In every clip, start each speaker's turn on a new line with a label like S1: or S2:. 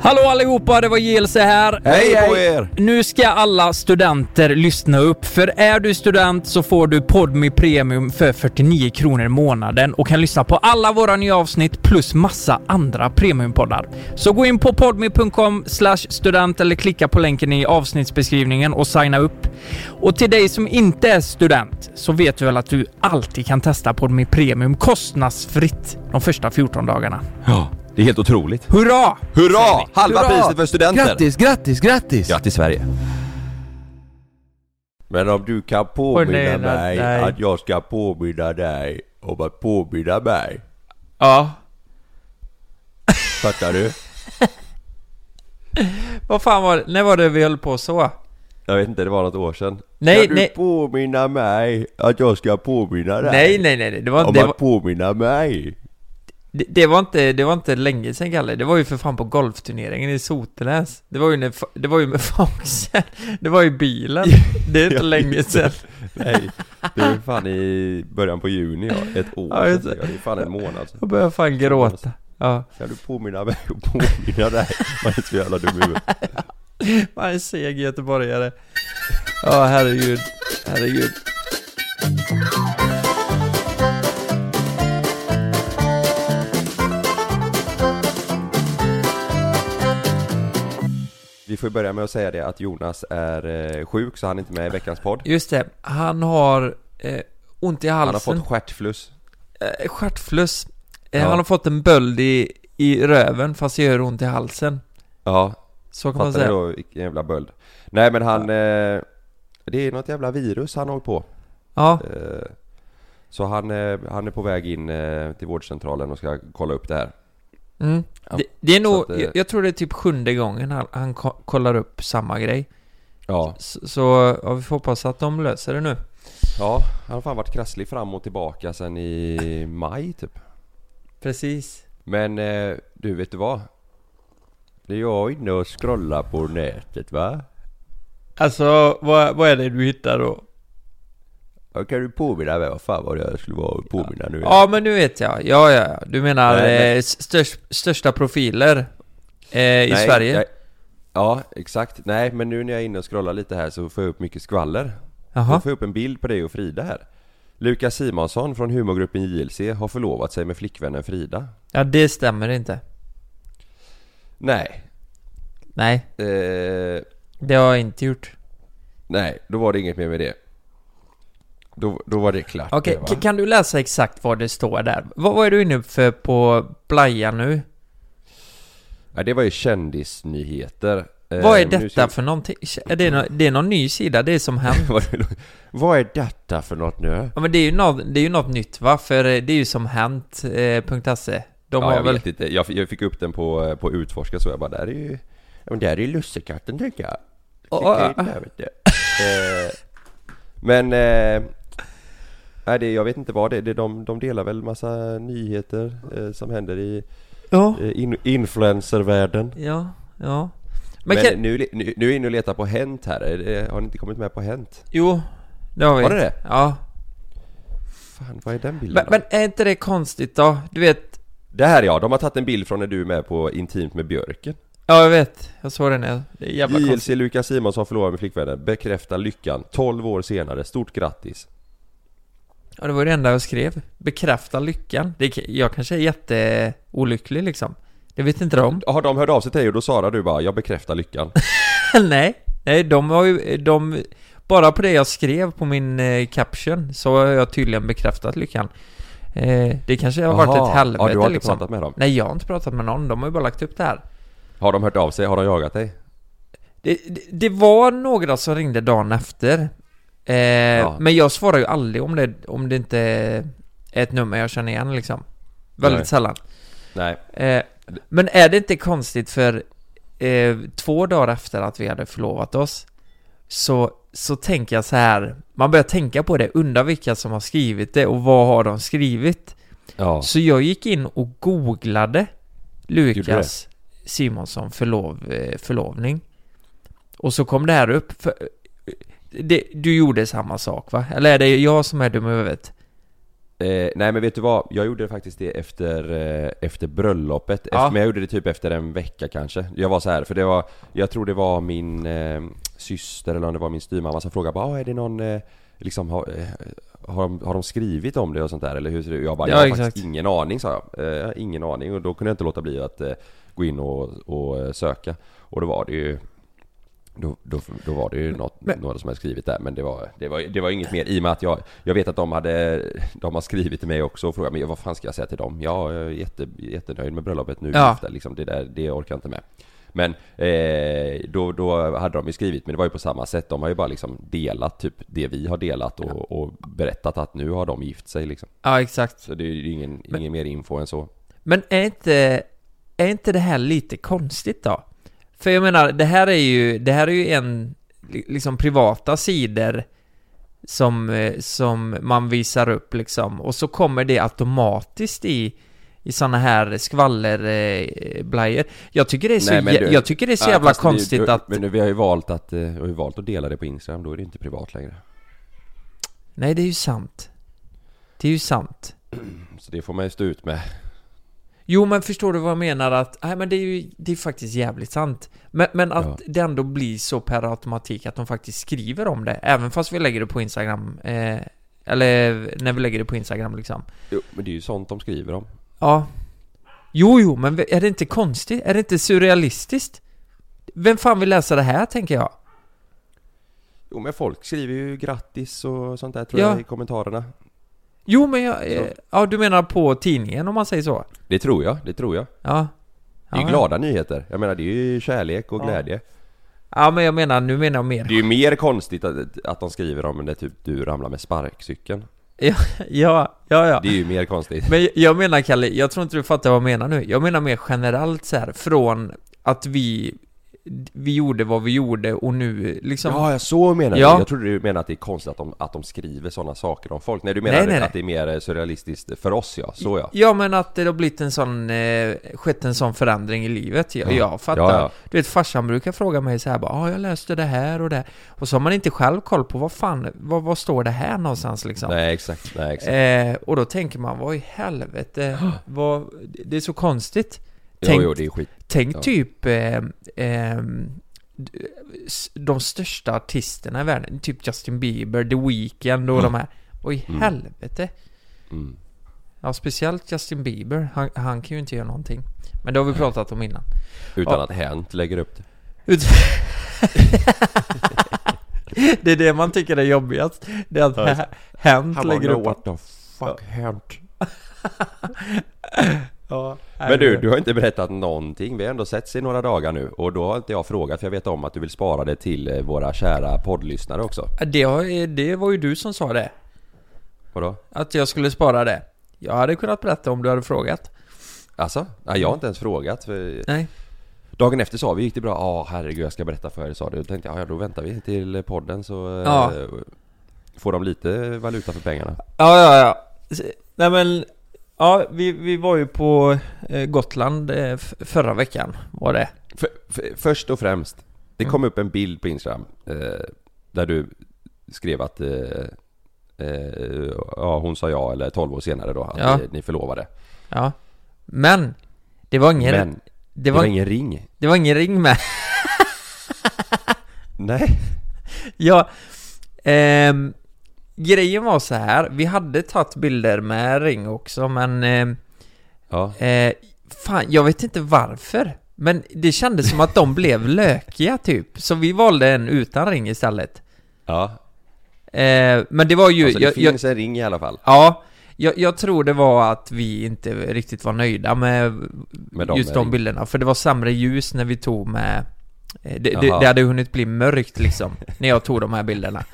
S1: Hallå allihopa, det var JLC här.
S2: Hej på er!
S1: Nu ska alla studenter lyssna upp, för är du student så får du Podmi Premium för 49 kronor i månaden och kan lyssna på alla våra nya avsnitt plus massa andra premiumpoddar. Så gå in på podmi.com student eller klicka på länken i avsnittsbeskrivningen och signa upp. Och till dig som inte är student så vet du väl att du alltid kan testa Podmi Premium kostnadsfritt de första 14 dagarna.
S2: Ja, det är helt otroligt.
S1: Hurra!
S2: Hurra! Halva
S3: Hurra!
S2: priset för studenter!
S3: Grattis, grattis, grattis!
S2: Grattis Sverige! Men om du kan påminna
S1: Påminna
S2: mig
S1: dig.
S2: att jag ska påminna dig om att påminna mig.
S3: Ja.
S2: Fattar du?
S1: Vad fan var det? När var det vi höll på så?
S2: Jag vet inte, det var något år sedan.
S1: Nej,
S2: kan du
S1: nej.
S2: påminna mig att jag ska påminna dig?
S1: Nej, nej, nej, nej. Det, var,
S2: Om
S1: det,
S2: att
S1: var,
S2: påminna mig?
S1: det, det, var inte, det var inte länge sedan, Galle. Det var ju för fan på golfturneringen i Sotenäs. Det var ju, när, fa- det var ju med Foxen. Det var ju bilen. Det är inte
S2: Ja,
S1: länge
S2: just
S1: sedan.
S2: Nej, det är fan i början på juni ja. Ett år
S1: Ja,
S2: sedan.
S1: just
S2: Det
S1: det.
S2: är fan en månad sedan.
S1: Jag börjar fan
S2: alltså.
S1: gråta. Ja,
S2: Kan du påminna mig och påminna dig? Man är så jävla dum i huvudet.
S1: man är seg göteborgare. Ja, herregud. Herregud.
S2: Vi får ju börja med att säga det att Jonas är eh, sjuk så han är inte med i veckans podd.
S1: Just det, han har eh, ont i halsen.
S2: Han har fått stjärtfluss.
S1: eh, stjärtfluss. Eh,
S2: Ja.
S1: Han har fått en böld i, i röven fast det gör ont i halsen.
S2: Ja,
S1: Så kan man
S2: fattar ni
S1: säga.
S2: då vilken jävla böld. Nej men han... Eh, det är något jävla virus han håller på.
S1: Ja,
S2: Eh, så han, eh, han är på väg in eh, till vårdcentralen och ska kolla upp det här.
S1: mm.
S2: Ja,
S1: Det, det är nog,
S2: att, eh,
S1: jag, jag tror det är typ sjunde gången han, han ko- kollar upp samma grej.
S2: Ja.
S1: Så, så ja, vi får hoppas att de löser det nu.
S2: Ja, han har fan varit krasslig fram och tillbaka sen i maj typ.
S1: Precis.
S2: Men eh, du, vet du vad? Det är jag inne och scrollar på nätet va?
S1: Alltså, vad, vad är det du hittar då?
S2: Ja, Kan du påminna mig? Vad fan var det jag skulle vara och påminna nu?
S1: Ja, men nu vet jag. Ja, ja, ja. Du menar
S2: Nej, men-
S1: eh, s- störst, största profiler eh, i
S2: Nej,
S1: Sverige?
S2: jag- ja, exakt. Nej, men nu när jag är inne och scrollar lite här så får jag upp mycket skvaller. Då
S1: Jaha.
S2: får jag upp en bild på dig och Frida här. Lukas Simonsson från humorgruppen JLC har förlovat sig med flickvännen Frida.
S1: Ja, det stämmer inte.
S2: Nej.
S1: Nej,
S2: Eh,
S1: det har jag inte gjort.
S2: nej, då var det inget mer med det. Då, då var det klart.
S1: Okej,
S2: det, va?
S1: k- kan du läsa exakt vad det står där? Vad, vad är du inne för på Blaja nu?
S2: Ja, det var ju kändisnyheter. Eh,
S1: Vad är
S2: men nu
S1: detta
S2: ska-
S1: för någonting? Är det, nå- det är någon ny sida, det är som hänt.
S2: Vad är- Vad är detta för något nu?
S1: Ja men det är ju något, det är ju något nytt va? För eh, det är ju som hänt.se. De
S2: ja,
S1: har
S2: jag
S1: väl...
S2: vet inte. Jag, jag fick upp den på, på Utforska så jag bara, där är ju... Ja, men där är ju lussekatten tycker jag. Klicka in där, vet du. Eh, Men... eh, Nej, det, jag vet inte vad det är. Det- De, de delar väl massa nyheter eh, som händer i
S1: Ja.
S2: eh, in, influencervärlden.
S1: Ja, ja. Men,
S2: Men,
S1: kan...
S2: nu, nu, nu är jag inne och letar på Hänt här. Är det- Har ni inte kommit med på Hänt?
S1: Jo, det har vi.
S2: Var det det?
S1: Ja.
S2: Fan, vad är den bilden?
S1: Men,
S2: då?
S1: men är inte det konstigt då? Du vet...
S2: Det här ja, de har tagit en bild från när du är med på Intimt med Björken.
S1: Ja, jag vet. Jag såg den här. Det är jävla
S2: JLC
S1: konstigt.
S2: Lukas Simonsson förlorar med flickvännen, bekräftar lyckan 12 år senare, stort grattis!
S1: Ja, det var det enda jag skrev. Bekräfta lyckan. Det, k- jag kanske är jätteolycklig liksom. Det vet inte de.
S2: Har de hört av sig till dig och då svarar du bara 'Jag bekräftar lyckan'
S1: nej, nej, de har ju... De, bara på det jag skrev på min eh, caption så har jag tydligen bekräftat lyckan. Eh, det kanske har varit
S2: Jaha.
S1: ett helvete
S2: Ja, du har inte
S1: liksom.
S2: pratat med dem?
S1: Nej, jag har inte pratat med någon. De har ju bara lagt upp det här.
S2: Har de hört av sig? Har de jagat dig?
S1: Det, det, det var några som ringde dagen efter. Eh,
S2: Ja.
S1: Men jag svarar ju aldrig om det, om det inte är ett nummer jag känner igen liksom. Väldigt
S2: Nej.
S1: sällan.
S2: Nej,
S1: Eh, men är det inte konstigt för eh, två dagar efter att vi hade förlovat oss så, så tänker jag så här, man börjar tänka på det, undrar vilka som har skrivit det och vad har de skrivit?
S2: ja,
S1: Så jag gick in och googlade
S2: Gjorde du
S1: Lukas Simonsson förlov, eh, förlovning. Och så kom det här upp. För, eh, det, du gjorde samma sak va? Eller är det jag som är dum i huvudet?
S2: Eh, nej men vet du vad? Jag gjorde faktiskt det efter, eh, efter bröllopet, efter,
S3: Ja.
S2: men jag gjorde det typ efter en vecka kanske Jag var så här för det var, jag tror det var min eh, syster eller om det var min styvmamma som frågade bara "Ah, är det någon, eh, liksom har, eh, har, de, har de skrivit om det och sånt där eller hur ser det ut? Jag bara,
S1: Ja,
S2: jag har
S1: exakt.
S2: faktiskt ingen aning sa jag, eh, jag har ingen aning och då kunde jag inte låta bli att eh, gå in och, och eh, söka Och då var det ju då, då, då var det ju något,
S1: Men-
S2: några som hade skrivit där men det var, det var, det var inget mer i och med att jag, jag vet att de hade, de har skrivit till mig också och frågat mig vad fan ska jag säga till dem? Ja, jag är jätte, jättenöjd med bröllopet nu
S1: Ja.
S2: efter, liksom, det där, det orkar jag inte med. Men eh, då, då hade de ju skrivit, men det var ju på samma sätt, de har ju bara liksom delat typ det vi har delat och, och berättat att nu har de gift sig liksom.
S1: Ja, exakt.
S2: Så det är ju ingen,
S1: Men-
S2: ingen mer info än så.
S1: Men är inte, är inte det här lite konstigt då? För jag menar, det här är ju, det här är ju en, li- liksom privata sidor som, eh, som man visar upp liksom, och så kommer det automatiskt i i såna här skvallerblajor. Eh, blajor. jag tycker det är så,
S2: Nej, men
S1: jä-
S2: du-
S1: jag tycker det är så
S2: Ja,
S1: jävla
S2: fast det är ju-
S1: konstigt
S2: du,
S1: att...
S2: Men nu, vi har ju valt att, eh, vi har ju valt att dela det på Instagram, då är det inte privat längre.
S1: Nej, det är ju sant. Det är ju sant.
S2: Så det får man ju stå ut med.
S1: Jo men förstår du vad jag menar att, nej men det är ju det är faktiskt jävligt sant. Men, men att
S2: Ja.
S1: det ändå blir så per automatik att de faktiskt skriver om det, även fast vi lägger det på Instagram. Eh, eller när vi lägger det på Instagram liksom.
S2: Jo, men det är ju sånt de skriver om.
S1: Ja. Jo, jo, men är det inte konstigt? Är det inte surrealistiskt? Vem fan vill läsa det här, tänker jag?
S2: Jo men folk skriver ju grattis och sånt där tror
S1: Ja.
S2: jag i kommentarerna.
S1: Jo, men jag... Eh, ja, du menar på tidningen om man säger så?
S2: Det tror jag, det tror jag.
S1: Ja.
S2: Det är ju
S1: Ja.
S2: glada nyheter. Jag menar det är ju kärlek och
S1: Ja.
S2: glädje.
S1: Ja, men jag menar, nu menar jag
S2: Det
S1: mer.
S2: är ju mer konstigt att, att de skriver om när typ du ramlar med sparkcykeln.
S1: Ja, ja, ja.
S2: Det är ju mer konstigt.
S1: Men jag menar Kalle, jag tror inte du fattar vad jag menar nu. Jag menar mer generellt så här, från att vi, vi gjorde vad vi gjorde och nu liksom...
S2: Ja, jag så menar
S1: Ja.
S2: du. Jag trodde du menade att det är konstigt att de, att de skriver sådana saker om folk. Nej du menar
S1: Nej, nej,
S2: att det är mer surrealistiskt för oss ja, så ja.
S1: Ja men att det har blivit en sån, eh, skett en sån förändring i livet. Jag,
S2: Ja.
S1: jag fattar.
S2: Ja, ja.
S1: Du vet farsan brukar fråga mig så här bara, ah, jag läste det här och det här." Och så har man inte själv koll på vad fan, vad, vad står det här någonstans liksom?
S2: Nej exakt, nej exakt.
S1: Eh, och då tänker man, vad i helvete, vad, det är så konstigt.
S2: jo, jo det är skit.
S1: Tänk
S2: Ja.
S1: typ eh, ehm, d- s- de största artisterna i världen, typ Justin Bieber, The Weeknd och de här. Och i
S2: Mm.
S1: helvete.
S2: Mm.
S1: Ja, speciellt Justin Bieber. Han, han kan ju inte göra någonting. Men det har vi pratat om innan.
S2: Utan
S1: Ja.
S2: att hänt lägger upp det.
S1: Ut- det är det man tycker är jobbigast. Det är att
S2: Ja, just
S1: hä- Hänt lägger upp...
S2: what the fuck hänt?
S1: Ja,
S2: Men du, du har inte berättat någonting. Vi har ändå setts i några dagar nu och då har inte jag frågat för jag vet om att du vill spara det till eh, våra kära poddlyssnare också.
S1: Det, har, det var ju du som sa det.
S2: Vadå?
S1: Att jag skulle spara det. Jag hade kunnat berätta om du hade frågat.
S2: Alltså? Nej, jag har inte ens frågat. För
S1: Nej.
S2: dagen efter sa vi, gick det bra? Ja, herregud jag ska berätta för er sa du. Då tänkte jag, ja då väntar vi till podden så eh,
S1: Ja.
S2: får de lite valuta för pengarna.
S1: Ja, ja, ja. S- Nej men, ja, vi, vi var ju på eh, Gotland eh, f- förra veckan, var det.
S2: För, för, först och främst, det kom
S1: Mm.
S2: upp en bild på Instagram eh, där du skrev att eh, eh, ja, hon sa ja eller 12 år senare då, att eh,
S1: Ja.
S2: ni, ni förlovade.
S1: Ja. Men, det var ingen,
S2: Men
S1: det var,
S2: ingen ring.
S1: det var ingen ring med.
S2: Nej.
S1: ja, ehm, grejen var så här, vi hade tagit bilder med ring också men, ehm,
S2: Ja.
S1: eh, fan jag vet inte varför. Men det kändes som att de blev lökiga typ, så vi valde en utan ring istället.
S2: ja.
S1: Eh, men det var ju...
S2: Alltså, det
S1: jag- jag-
S2: finns en ring i alla fall.
S1: Ja, jag, jag tror det var att vi inte riktigt var nöjda med,
S2: Med de
S1: just de
S2: ring-
S1: bilderna. För det var sämre ljus när vi tog med... eh, Det, det,
S2: Jaha.
S1: det hade hunnit bli mörkt liksom, när jag tog de här bilderna.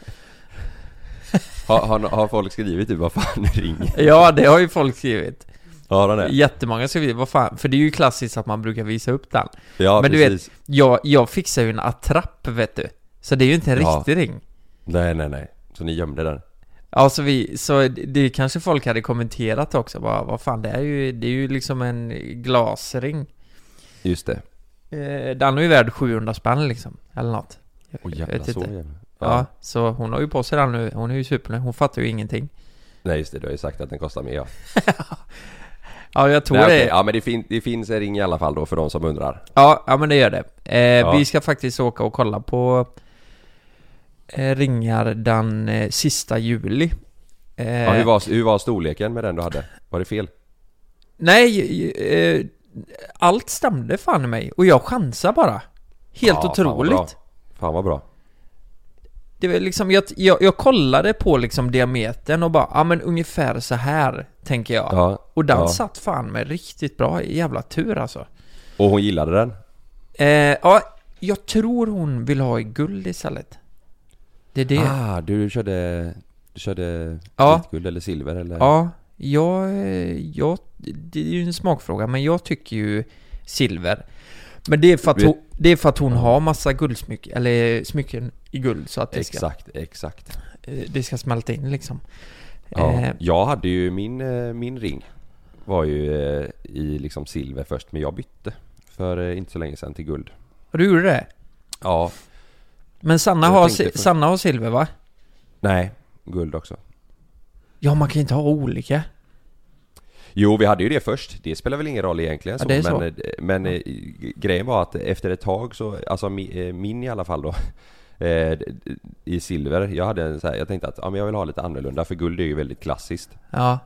S2: Har, har, har folk skrivit typ vad fan är ring?
S1: Ja, det har ju folk skrivit.
S2: Har de det?
S1: Jättemånga skrivit, vad fan, för det är ju klassiskt att man brukar visa upp den.
S2: Ja,
S1: Men du
S2: precis.
S1: Jag, jag fixar ju en attrapp, vet du. Så det är ju inte en
S2: Ja.
S1: riktig ring.
S2: Nej, nej, nej. Så ni gömde den?
S1: Ja, så vi, så det- det kanske folk hade kommenterat också, bara, vad fan, det är ju, det är ju liksom en glasring.
S2: Just det.
S1: Eh, Den är ju värd 700 spänn liksom, eller något.
S2: Åh
S1: Jag vet
S2: jävlar, så
S1: inte.
S2: jävla.
S1: Ja. så hon har ju på sig den nu, hon är ju supernöjd, hon fattar ju ingenting.
S2: Nej just det, du har ju sagt att den kostar mer ja.
S1: Ja, jag tror
S2: Nej,
S1: det.
S2: okej. Ja men det, fin- det finns en ring i alla fall då för de som undrar.
S1: Ja, ja men det gör det. Eh,
S2: Ja.
S1: Vi ska faktiskt åka och kolla på eh, ringar den eh, sista juli. Eh,
S2: Ja, hur, var, hur var storleken med den du hade? Var det fel?
S1: Nej, eh, allt stämde fan i mig. Och jag chansar bara. Helt
S2: Ja, fan vad
S1: otroligt.
S2: bra. Fan vad bra.
S1: Det var liksom, jag, jag, jag kollade på liksom diametern och bara, ja men ungefär så här tänker jag.
S2: Ja,
S1: och den
S2: ja.
S1: satt fan med riktigt bra, jävla tur alltså.
S2: Och hon gillade den?
S1: Eh, ja, jag tror hon vill ha i guld istället. Det är det.
S2: Ah, du körde... Du körde
S1: Ja.
S2: vitguld eller silver eller?
S1: Ja, jag, eh, jag, det är ju en smakfråga, men jag tycker ju silver. Men det är för att
S2: Vet-
S1: hon, det är för att hon har massa guldsmycken, eller smycken i guld så att det ska,
S2: Exakt, exakt.
S1: eh, det ska smälta in liksom.
S2: Ja.
S1: Eh,
S2: Jag hade ju min, eh, min ring var ju eh, i liksom silver först men jag bytte för eh, inte så länge sedan till guld.
S1: och du gjorde det?
S2: Ja,
S1: Men Sanna
S2: Jag
S1: har,
S2: tänkte
S1: si-
S2: först-
S1: Sanna har silver va?
S2: nej, guld också.
S1: Ja, man kan ju inte ha olika.
S2: Jo, vi hade ju det först. Det spelar väl ingen roll egentligen
S1: Ja,
S2: så,
S1: det är
S2: men,
S1: så.
S2: eh, men eh, grejen var att efter ett tag så, alltså mi- eh, min i alla fall då eh, I silver, jag hade en så här, jag tänkte att ja, men jag vill ha lite annorlunda för guld är ju väldigt klassiskt
S1: Ja,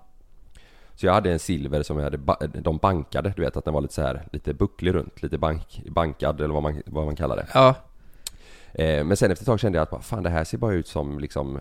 S2: Så jag hade en silver som jag hade, ba- eh, de bankade, du vet att den var lite så här lite bucklig runt, lite bank, bankad eller vad man, vad man kallar det
S1: ja,
S2: eh, Men sen efter ett tag kände jag att bara, fan det här ser bara ut som liksom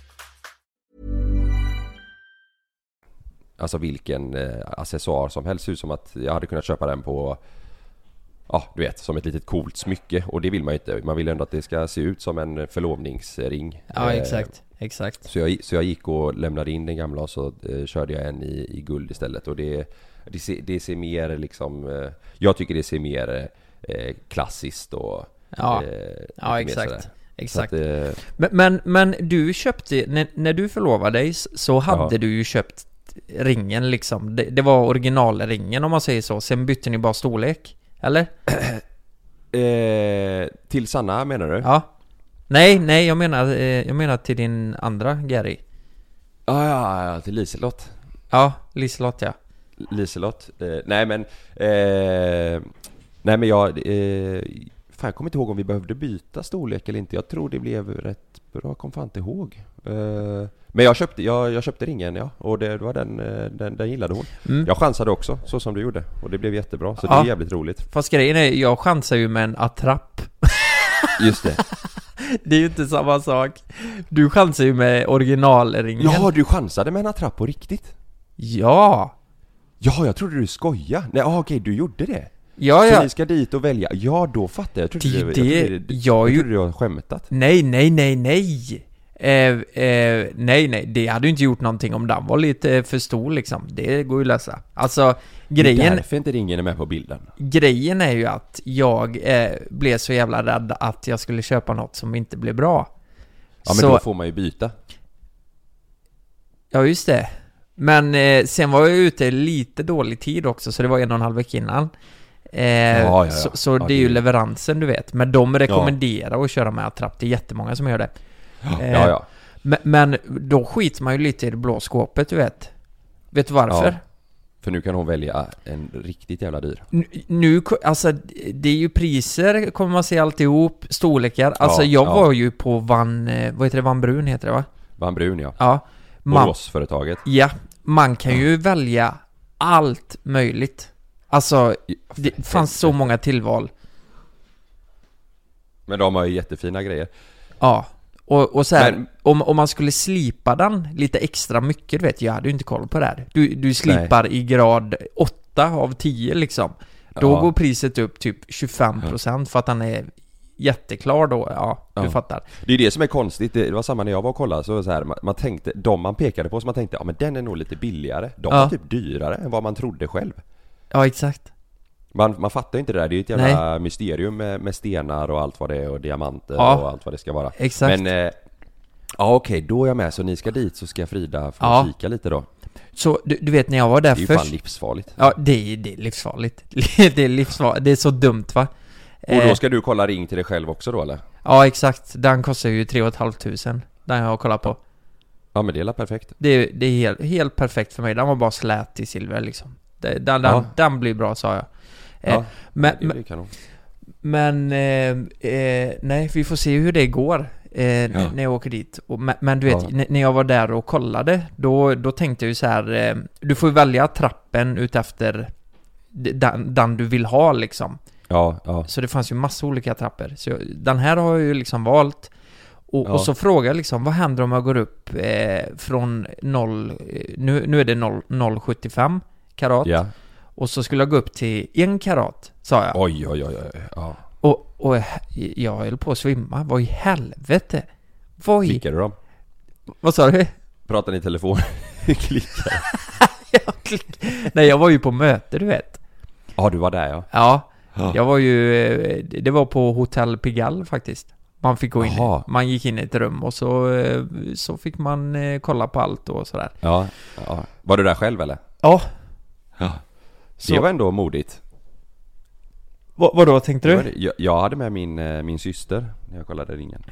S2: Alltså vilken eh, accessoar som helst. Ser ut som att jag hade kunnat köpa den på... Ja, du vet, som ett litet coolt smycke. Och det vill man ju inte. Man vill ändå att det ska se ut som en förlovningsring.
S1: ja
S2: Eh,
S1: exakt, exakt.
S2: Så jag, så jag gick och lämnade in den gamla och så eh, körde jag en i, i guld istället. Och det, det, ser, det ser mer liksom... Eh, jag tycker det ser mer eh, klassiskt och...
S1: Ja.
S2: eh,
S1: Ja,
S2: lite mer
S1: exakt.
S2: sådär.
S1: Exakt.
S2: Så att, eh,
S1: Men, men, men du köpte, när, när du förlovade dig s- så hade
S2: Ja.
S1: du ju köpt ringen liksom. Det, det var originalringen om man säger så. Sen bytte ni bara storlek. Eller?
S2: eh, till Sanna menar du?
S1: Ja. Nej, nej, jag menar, eh, jag menar till din andra Gary.
S2: Ja, ja, ja, till Liselott.
S1: Ja, Liselott ja.
S2: Liselott. Eh, nej men... Eh, nej men jag... Eh, fan jag kommer inte ihåg om vi behövde byta storlek eller inte. Jag tror det blev rätt bra. Jag kommer fan inte ihåg. Eh, men jag köpte, jag, jag köpte ringen ja. Och det, det var den, eh, den, den gillade hon. Jag chansade också, så som du gjorde. Och det blev jättebra. Så det
S1: Mm. Ja.
S2: är jävligt roligt.
S1: Fast grejen är, jag chansar ju med en attrapp.
S2: Just det.
S1: Det är ju inte samma sak. Du chansar ju med originalringen.
S2: Jaha, du chansade med en attrapp på riktigt?
S1: Ja!
S2: Ja, jag trodde du skojade. Nej, ah, okej, du gjorde det.
S1: Ja,
S2: Så
S1: ja.
S2: ni ska dit och välja? Ja, då fattar jag. Jag trodde
S1: Det-
S2: du, jag
S1: det-
S2: trodde, du-
S1: jag är
S2: jag
S1: ju-
S2: trodde du hade skämtat.
S1: Nej, nej, nej, nej! Eh, eh, nej, nej, det hade ju inte gjort någonting om den var lite eh, för stor liksom. Det går ju att lösa. Alltså,
S2: Det är
S1: grejen,
S2: därför inte ringen är med på bilden.
S1: grejen är ju att jag eh, blev så jävla rädd att jag skulle köpa något som inte blev bra.
S2: Ja men
S1: så,
S2: då får man ju byta.
S1: ja just det. Men eh, sen var jag ute lite dålig tid också, så det var en och en halv vecka innan. Eh,
S2: ja, ja.
S1: Så, så
S2: Ja,
S1: det
S2: det
S1: är ju
S2: är-
S1: leveransen du vet. Men de rekommenderar att köra med attrapp, det är jättemånga som gör det. Eh,
S2: Ja, ja.
S1: Men, men då skiter man ju lite i det blå skåpet, du vet. Vet du varför?
S2: För nu kan hon välja en riktigt jävla dyr.
S1: Nu, nu, ko- alltså det är ju priser, kommer man se alltihop, storlekar. Alltså
S2: Ja,
S1: jag
S2: ja.
S1: var ju på Van, eh, vad heter det, Van Brun heter det va?
S2: Var han brun ja?
S1: Ja. Man,
S2: Boråsföretaget.
S1: ja, man kan ju välja allt möjligt. Alltså, det fanns så många tillval.
S2: Men de har ju jättefina grejer.
S1: Ja. Och, och så här,
S2: Men-
S1: om, om man skulle slipa den lite extra mycket, du vet, jag hade ju inte koll på det här. Du, du slipar i grad 8 av 10 liksom. Då
S2: Ja.
S1: går priset upp typ 25% för att den är jätteklar då. Ja, du
S2: Ja.
S1: fattar.
S2: Det är det som är konstigt, det det var samma när jag var och kollade så, var det så här, man, man tänkte, de man pekade på så man tänkte ja men den är nog lite billigare, de
S1: Ja.
S2: var typ dyrare än vad man trodde själv
S1: Ja, exakt.
S2: Man, man fattar ju inte det där, det är ju ett jävla mysterium med, med stenar och allt vad det är och diamanter
S1: Ja.
S2: och allt vad det ska vara
S1: Exakt.
S2: Men, eh, ja okej då är jag med, så ni ska dit så ska Frida få
S1: Ja.
S2: kika lite då
S1: Så du, du vet när jag var där
S2: Det är ju
S1: först.
S2: fan livsfarligt
S1: Ja, det är, det är livsfarligt. det är livsfarligt. Det är så dumt va?
S2: Och
S1: Eh,
S2: då ska du kolla ring till dig själv också då eller?
S1: Ja, exakt. Den kostar ju 3 500. Den jag har kollat på.
S2: Ja men det är la perfekt
S1: Det, är- det är helt, helt perfekt för mig. Den var bara slät i silver liksom. Det- Den, den,
S2: Ja.
S1: den blir bra sa jag. Eh,
S2: Ja,
S1: men,
S2: Det blir kanon
S1: men eh, eh, nej, vi får se hur det går eh, n-
S2: Ja.
S1: när jag åker dit. Och, men, men du vet,
S2: Ja.
S1: n- när jag var där och kollade, då, då tänkte jag ju så här. Eh, du får ju välja trappen utefter d- den, den du vill ha liksom.
S2: Ja, ja,
S1: Så det fanns ju massa olika trappor. Så jag, den här har jag ju liksom valt. Och,
S2: Ja.
S1: och så frågar jag liksom, vad händer om jag går upp eh, från 0... Eh, nu, nu är det 0 0,75 karat.
S2: ja
S1: Och så skulle jag gå upp till 1 karat, sa jag.
S2: Oj oj oj, oj. Ja.
S1: Och, och jag- jag höll på att svimma. Vad i helvete? Vad i...
S2: Klickade de?
S1: Vad sa du?
S2: Pratar ni i telefon? Klickade
S1: Jag klick- Nej, jag var ju på möte, du vet.
S2: Ja du var där ja
S1: Ja.
S2: Ja.
S1: Jag var ju... eh, Det det var på Hotel Pigalle faktiskt. Man fick gå in,
S2: Jaha.
S1: man gick in i ett rum och så, eh, så fick man eh, kolla på allt och sådär.
S2: Ja, ja. Var du där själv eller?
S1: Ja,
S2: Det var ändå modigt.
S1: vad, vadå tänkte
S2: Det var det. Jag, jag hade med min, eh, min syster när jag kollade ringen.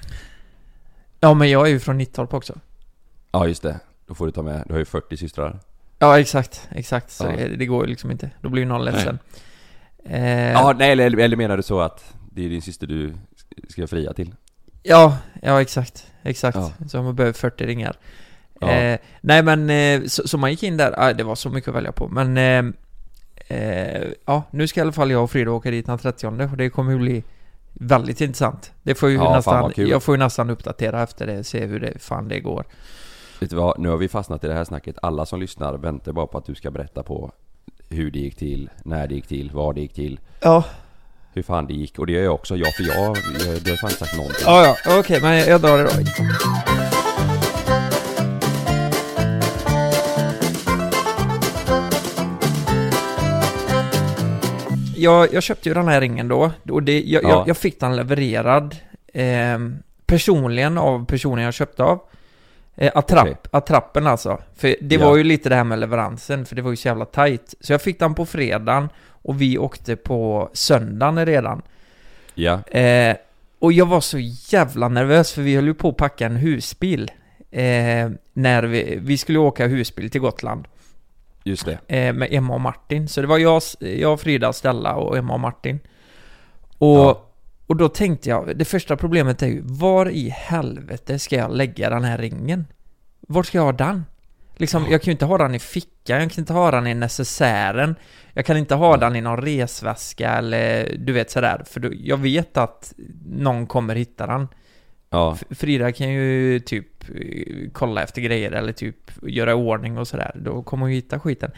S1: Ja, men jag är ju från Nittorp också.
S2: Ja just det, då får du ta med, du har ju 40
S1: Eh.
S2: systrar.
S1: Ja, exakt, exakt. Så
S2: Ja.
S1: det, det går ju liksom inte. Då blir ju någon ledsen. Eh,
S2: Ja,
S1: ja.
S2: nej eller, eller menar du så att det är din syster du ska fria till?
S1: ja, exakt, exakt.
S2: Ja.
S1: Så man behöver 40 ringar.
S2: Ja.
S1: Eh, nej, men eh, så, så man gick in där. Ah, det var så mycket att välja på, men... Eh, eh, ja, nu ska i alla fall jag och Frida åka dit den 30 och det kommer ju bli väldigt intressant. Det får ju
S2: Ja, fan,
S1: nästan...
S2: vad kul.
S1: Jag får ju nästan uppdatera efter det, se hur det, fan det går.
S2: Vet du vad, nu har vi fastnat i det här snacket. Alla som lyssnar väntar bara på att du ska berätta på hur det gick till, när det gick till, var det gick till,
S1: Ja,
S2: hur fan det gick. Och det gör jag också, jag för jag, jag du har fan inte sagt någonting.
S1: Ja, ja, okej, men jag, jag drar det då. Jag, jag köpte ju den här ringen då, och det, jag,
S2: Ja.
S1: jag, jag fick den levererad ehm, personligen av personen jag köpte av. Eh, attrapp,
S2: Okej.
S1: Attrappen alltså. För det
S2: Ja.
S1: var ju lite det här med leveransen, för det var ju så jävla tajt. Så jag fick den på fredagen och vi åkte på söndagen redan.
S2: Ja,
S1: Eh, och jag var så jävla nervös för vi höll ju på att packa en husbil. Eh, när vi, vi skulle åka husbil till Gotland
S2: just det.
S1: eh, med Emma och Martin. Så det var jag, jag Frida, Stella och Emma och Martin. Och,
S2: Ja.
S1: och då tänkte jag, det första problemet är ju, var i helvete ska jag lägga den här ringen? Vart ska jag ha den? Liksom, jag kan ju inte ha den i fickan, jag kan inte ha den i necessären, jag kan inte ha den i någon resväska eller du vet sådär, för då, jag vet att någon kommer hitta den.
S2: Ja,
S1: F- Frida kan ju typ eh, kolla efter grejer eller typ göra i ordning och sådär. Då kommer hon ju hitta skiten.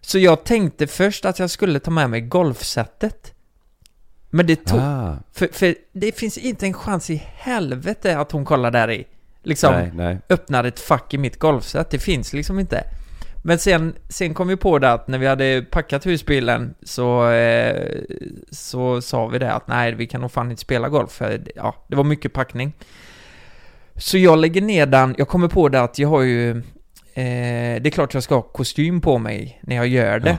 S1: Så jag tänkte först att jag skulle ta med mig golfsättet. Men det tog...
S2: ah,
S1: För, för det finns inte en chans i helvete att hon kollar där i. Liksom
S2: nej, nej.
S1: öppnar ett fack i mitt golfset. Det finns liksom inte. Men sen, sen kom vi på det att när vi hade packat husbilen så, eh, så sa vi det att nej, vi kan nog fan inte spela golf för det- ja, det var mycket packning. Så jag lägger ner den, jag kommer på det att jag har ju, eh, det är klart jag ska ha kostym på mig när jag gör det.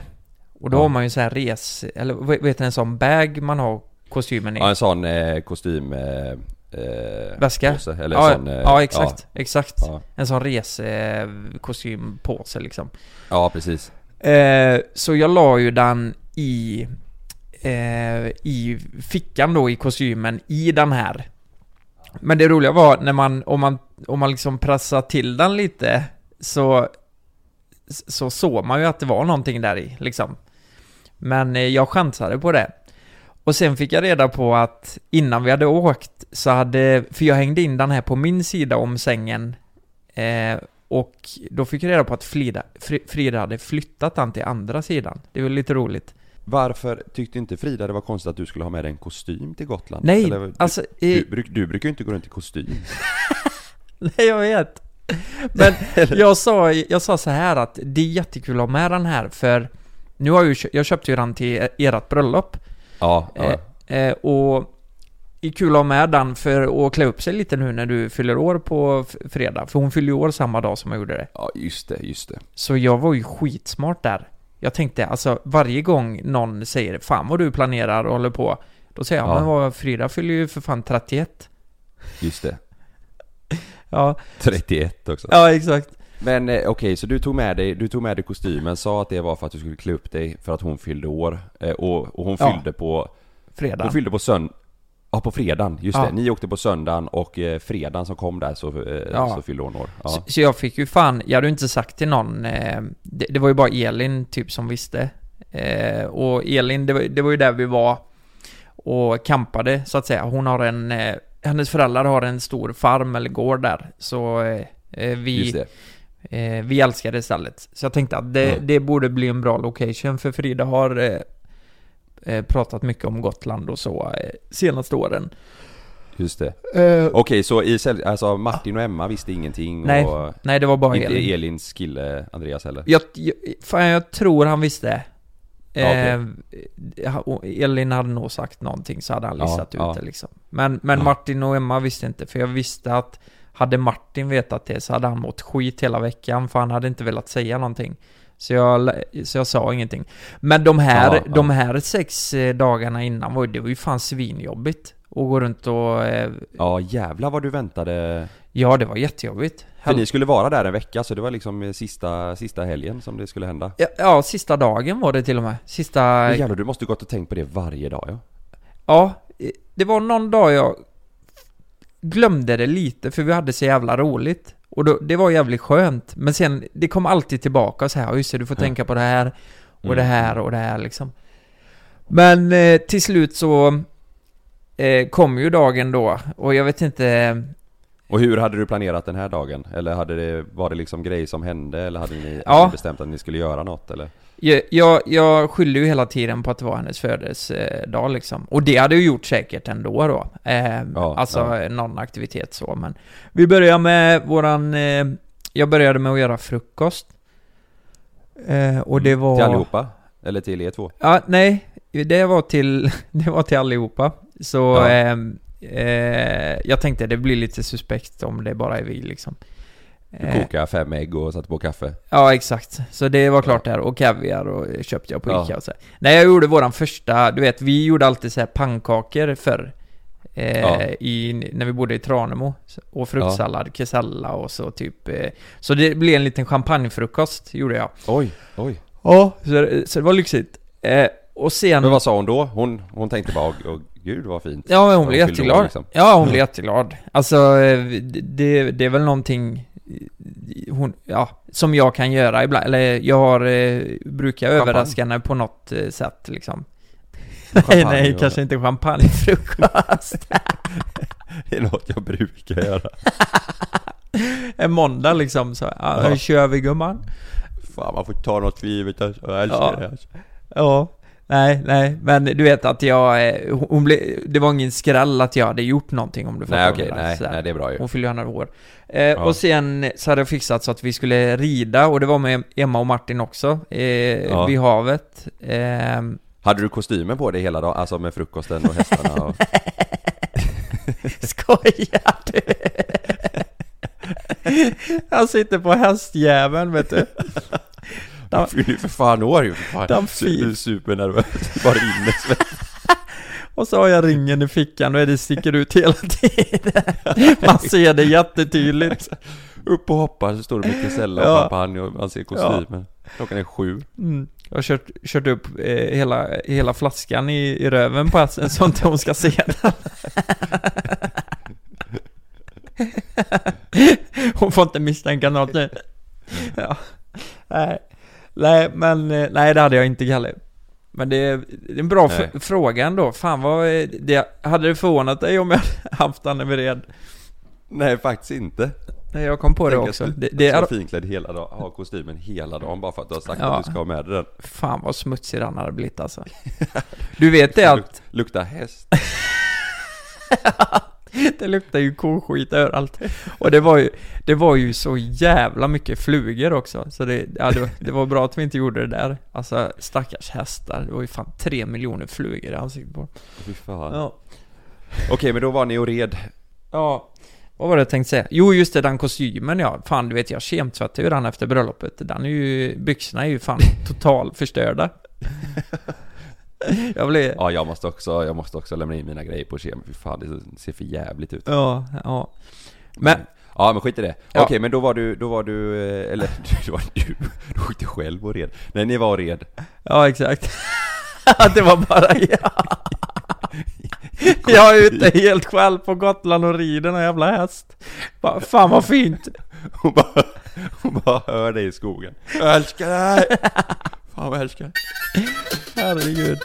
S1: Och då
S2: Ja.
S1: har man ju så här res, eller vad vad heter det, en sån bag man har kostymen i?
S2: Ja, en sån eh, kostym... Eh, eh,
S1: Väska?
S2: påse, eller
S1: ja,
S2: sån, eh,
S1: ja, exakt, exakt.
S2: Ja,
S1: En sån eh, resekostympåse liksom.
S2: ja, ja, precis.
S1: Eh, så jag la ju den i, eh, i fickan då i kostymen i den här. Men det roliga var när man, om man, om man liksom pressade till den lite så, så såg man ju att det var någonting där i liksom. Men eh, jag chansade på det. Och sen fick jag reda på att innan vi hade åkt så hade, för jag hängde in den här på min sida om sängen eh, och då fick jag reda på att Frida, Fri- Frida hade flyttat den till andra sidan. Det var lite roligt.
S2: Varför tyckte inte Frida det var konstigt att du skulle ha med dig en kostym till Gotland?
S1: Nej,
S2: Eller,
S1: alltså,
S2: du, du,
S1: eh,
S2: bruk- du brukar ju inte gå runt i kostym.
S1: Nej, jag vet. Men jag sa, jag sa så här att det är jättekul att ha med den här för nu har jag ju, kö- jag köpte ju den till ert bröllop.
S2: Ja, ja.
S1: Eh, eh, och det är kul att ha med den för att klä upp sig lite nu när du fyller år på f- fredag. För hon fyller ju år samma dag som jag gjorde det.
S2: ja, just det, just det.
S1: Så jag var ju skitsmart där. Jag tänkte alltså varje gång någon säger 'Fan vad du planerar och håller på' Då säger jag
S2: Ja.
S1: men vad, Frida fyller ju för fan 31.
S2: Just det.
S1: Ja,
S2: 31 också.
S1: ja exakt.
S2: Men eh, okej, så du tog med dig, du tog med dig kostymen, sa att det var för att du skulle klä upp dig för att hon fyllde år. Eh, och, och hon
S1: Ja.
S2: fyllde på...
S1: Fredag.
S2: Hon fyllde på söndag... Ja, på fredagen. Just
S1: Ja.
S2: det. Ni åkte på söndagen och eh, fredagen som kom där så, eh,
S1: Ja.
S2: så fyllde hon år. Ja.
S1: Så, så jag fick ju fan, jag hade ju inte sagt till någon, eh, det, det var ju bara Elin typ som visste. Eh, och Elin, det var, det var ju där vi var och campade så att säga. Hon har en, eh, hennes föräldrar har en stor farm eller gård där. Så eh, eh,
S2: Just
S1: vi,
S2: det.
S1: eh, vi älskar det stället. Så jag tänkte att det,
S2: Mm.
S1: det borde bli en bra location för Frida har eh, eh, pratat mycket om Gotland och så eh, senaste åren.
S2: Just det. Okej, så i, säll- alltså Martin och Emma visste ingenting
S1: Eh, Nej,
S2: och...
S1: nej, det var bara
S2: Inte
S1: Elin.
S2: Elins kille Andreas heller?
S1: Jag, jag, fan, jag tror han visste.
S2: Ja, okej.
S1: Eh, ha- och Elin hade nog sagt någonting så hade han
S2: Ja,
S1: listat ut
S2: ja.
S1: det liksom. Men, men Martin och Emma visste inte, för jag visste att hade Martin vetat det så hade han mått skit hela veckan, för han hade inte velat säga någonting. Så jag, lä- så jag sa ingenting. Men de här,
S2: Ja, ja.
S1: de här sex eh, dagarna innan, var, ju- det var ju fan svinjobbigt. Att gå runt och... eh,
S2: Ja, jävlar vad du väntade.
S1: Ja, det var jättejobbigt.
S2: För ni skulle vara där en vecka, så det var liksom eh, sista, sista helgen som det skulle hända.
S1: Ja, Ja, sista dagen var det till och med. Sista...
S2: Jävlar, du måste gått och tänkt på det varje dag ja.
S1: Ja, eh, det var någon dag jag glömde det lite för vi hade så jävla roligt. Och då, det var jävligt skönt. Men sen, det kom alltid tillbaka så här, "Ja, just det, du får tänka på det här och det här och det här liksom. Men eh, till slut så eh, kom ju dagen då och jag vet inte...
S2: Och hur hade du planerat den här dagen? Eller hade det, var det liksom grejer som hände? Eller hade ni
S1: Ja.
S2: hade ni bestämt att ni skulle göra något eller?
S1: Jag, jag, jag skyllde ju hela tiden på att det var hennes födelsedag liksom. Och det hade jag gjort säkert ändå då. Eh,
S2: Ja,
S1: alltså
S2: ja.
S1: någon aktivitet så men. Vi börjar med våran... Eh, jag började med att göra frukost. Eh, och det var...
S2: Mm, Till allihopa? Eller till er två?
S1: Ja, nej. Det var till, det var till allihopa. Så
S2: Ja.
S1: ehm, eh, jag tänkte det blir lite suspekt om det bara är vi liksom.
S2: Du
S1: Eh,
S2: kokade fem ägg och satte på kaffe?
S1: Ja, exakt. Så det var klart där. Och kaviar och köpte jag på
S2: Ja.
S1: Ica och så. här. Nej, jag gjorde våran första, du vet, vi gjorde alltid så här pannkakor förr. Eh,
S2: Ja.
S1: i, när vi bodde i Tranemo. Och fruktsallad, kesella och så typ. Eh, så det blev en liten champagnefrukost, gjorde jag.
S2: Oj, oj.
S1: Ja. Så, så det var lyxigt. Eh, och sen...
S2: Men vad sa hon då? Hon, hon tänkte bara, åh gud vad fint.
S1: Ja, men hon
S2: När
S1: blev
S2: fyllde år,
S1: jätteglad.
S2: liksom.
S1: Ja, hon blev jätteglad. Alltså, eh, det, det är väl någonting eh, hon, ja, som jag kan göra ibland. Eller jag har, eh, brukar
S2: Champagne.
S1: överraska henne på något eh, sätt liksom. Nej,
S2: Champagne
S1: nej,
S2: och-
S1: kanske inte champagnefrukost.
S2: Det är något jag brukar göra.
S1: en måndag liksom så, ja, nu
S2: Ja.
S1: kör vi gumman.
S2: Fan man får ta något för givet alltså. Jag älskar
S1: Ja.
S2: det alltså.
S1: Ja. Nej, nej, men du vet att jag, eh, hon- hon blev, det var ingen skräll att jag hade gjort någonting om du fattar
S2: Nej
S1: vad jag
S2: okej,
S1: menar,
S2: nej,
S1: så här.
S2: nej det är bra ju.
S1: Hon fyller ju några år. Eh, Och sen så hade jag fixat så att vi skulle rida och det var med Emma och Martin också eh,
S2: Ja.
S1: vid havet. Eh,
S2: Hade du kostymen på dig hela dagen? Alltså med frukosten och hästarna och...
S1: skojar du? Han sitter på hästjäveln vet du.
S2: Du fyller ju för fan år ju för fan.
S1: Den
S2: Du du är supernervös, det bara rinner svett.
S1: Och så har jag ringen i fickan och det sticker ut hela tiden. Man ser det jättetydligt.
S2: Upp och hoppar så står det med Kesella och
S1: Ja.
S2: champagne och man ser kostymen. Klockan är sju.
S1: Mm. Jag har kört, kört upp eh, hela, hela flaskan i, i röven på hästen så inte hon ska se den. Hon får inte misstänka något nu. Ja. Nej. nej, men eh, nej det hade jag inte Kalle. Men det är, det är en bra
S2: Nej.
S1: fr- fråga ändå. Fan vad, eh, det, hade det förvånat dig om jag hade haft Anne Bered?
S2: Nej faktiskt inte.
S1: Nej, jag kom på det
S2: Tänk
S1: också.
S2: att du Alltså-
S1: Det,
S2: det,
S1: det är,
S2: finklädd hela dagen, ha kostymen hela dagen bara för att du har sagt
S1: Ja.
S2: att du ska ha med dig den.
S1: fan vad smutsig den hade blivit alltså. Du vet det att
S2: Luk, lukta häst.
S1: det luktar ju koskit överallt. Och det var ju, det var ju så jävla mycket flugor också. Så det, ja, det, var- det var bra att vi inte gjorde det där. Alltså stackars hästar. Det var ju fan tre miljoner flugor i ansiktet på dem.
S2: Fy fan.
S1: Ja.
S2: Okej men då var ni och red.
S1: Ja, vad var det jag tänkte säga? Jo, just det, den kostymen ja. Fan, du vet, jag kemtvättade ju den efter bröllopet. Den är ju, byxorna är ju fan total förstörda. jag blev...
S2: Ja jag måste också, jag måste också lämna in mina grejer på kemin. Fy fan det ser för jävligt ut.
S1: Ja, ja. Men,
S2: Ja men skit i det.
S1: Ja.
S2: Okej men då var du, då var du, eh, eller då var du, du åkte själv och red. Nej ni var och red.
S1: ja exakt. det var bara jag. jag är ute helt själv på Gotland och rider en jävla häst. Bara, Fan vad fint.
S2: Hon bara, hon bara hör dig i skogen. Jag älskar dig! Fan vad jag älskar dig.
S1: Herregud.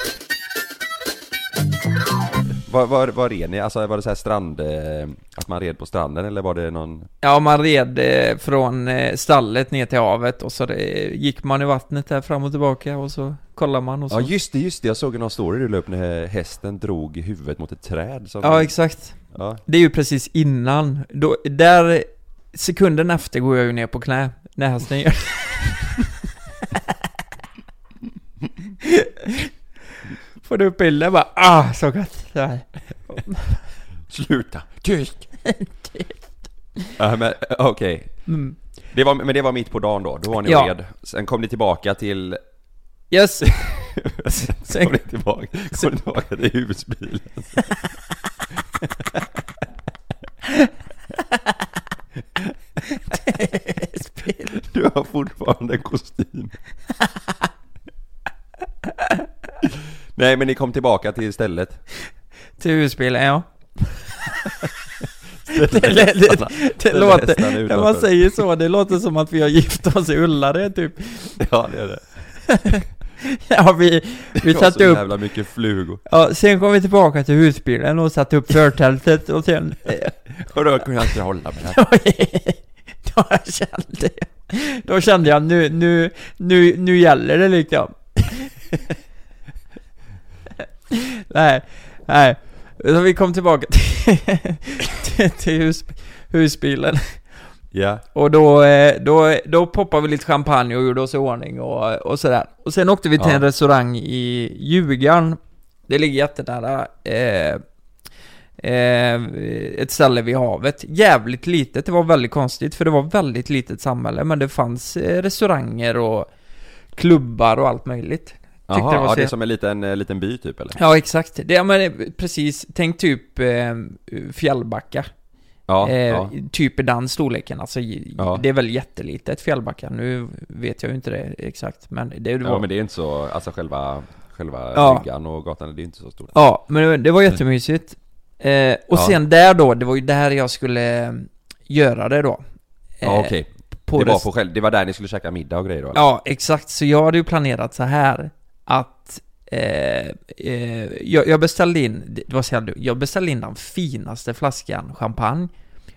S2: Var, var, var red ni? Alltså var det så här strand, eh, att man red på stranden eller var det någon?
S1: Ja, man red eh, från eh, stallet ner till havet och så eh, gick man i vattnet där fram och tillbaka och så kollade man och så.
S2: Ja just det, just det. Jag såg en story du la upp när hästen drog huvudet mot ett träd. Som,
S1: ja, exakt.
S2: ja.
S1: Det är ju precis innan. Då, där, sekunden efter går jag ju ner på knä. När hästen gör Får du upp bilden bara ah, så gott. Så här.
S2: Sluta! Tyst! ja, men eh, okej.
S1: Mm.
S2: Det var, men det var mitt på dagen då, då var ni och
S1: Ja.
S2: red. Sen kom ni tillbaka till...
S1: Yes.
S2: Sen kom ni tillbaka, kom ni tillbaka till husbilen. Du har fortfarande kostym. Nej men ni kom tillbaka till stället.
S1: Till husbilen, ja. Det, det, det, det
S2: Ställer hästarna
S1: låter, när man
S2: utanför.
S1: säger så, det låter som att vi har gift oss i Ullared typ.
S2: Ja det är det.
S1: Ja, vi, vi
S2: Det var så
S1: satte upp,
S2: jävla mycket flugor.
S1: ja, sen kom vi tillbaka till husbilen och satte upp förtältet och sen, eh,
S2: Och då kunde jag inte hålla mig.
S1: då kände jag, då kände jag nu, nu, nu, nu gäller det liksom. nej, nej. Så vi kom tillbaka till, till, till hus, husbilen.
S2: Ja.
S1: Och då, eh, då, då poppade vi lite champagne och gjorde oss i ordning och, och sådär. Och sen åkte vi till
S2: Ja.
S1: en restaurang i Ljugarn. Det ligger jättenära eh, eh, ett ställe vid havet. Jävligt litet, det var väldigt konstigt för det var väldigt litet samhälle men det fanns eh, restauranger och klubbar och allt möjligt. Tyckte
S2: Jaha,
S1: det var
S2: ja,
S1: så
S2: det är som en liten, eh, liten by typ eller?
S1: Ja exakt, det, ja, men, eh, precis, tänk typ eh, Fjällbacka.
S2: Ja,
S1: Eh,
S2: ja.
S1: Typ i den storleken, alltså j-
S2: Ja.
S1: det är väl jättelitet Fjällbacka, nu vet jag ju inte det exakt men det, det var...
S2: ja men det är inte så, alltså själva, själva
S1: Ja.
S2: bryggan och gatan, det är inte så stort.
S1: Ja, men det- det var jättemysigt. Eh, och
S2: Mm. Ja.
S1: sen där då, det var ju där jag skulle eh, göra det då. Eh,
S2: Ja okej,
S1: på
S2: det var
S1: rest-
S2: på själv, det var där ni skulle käka middag och grejer då? eller?
S1: Ja, exakt. Så jag hade ju planerat så här att eh, eh, jag, jag beställde in, det var så jävla dumt. jag beställde in den finaste flaskan champagne.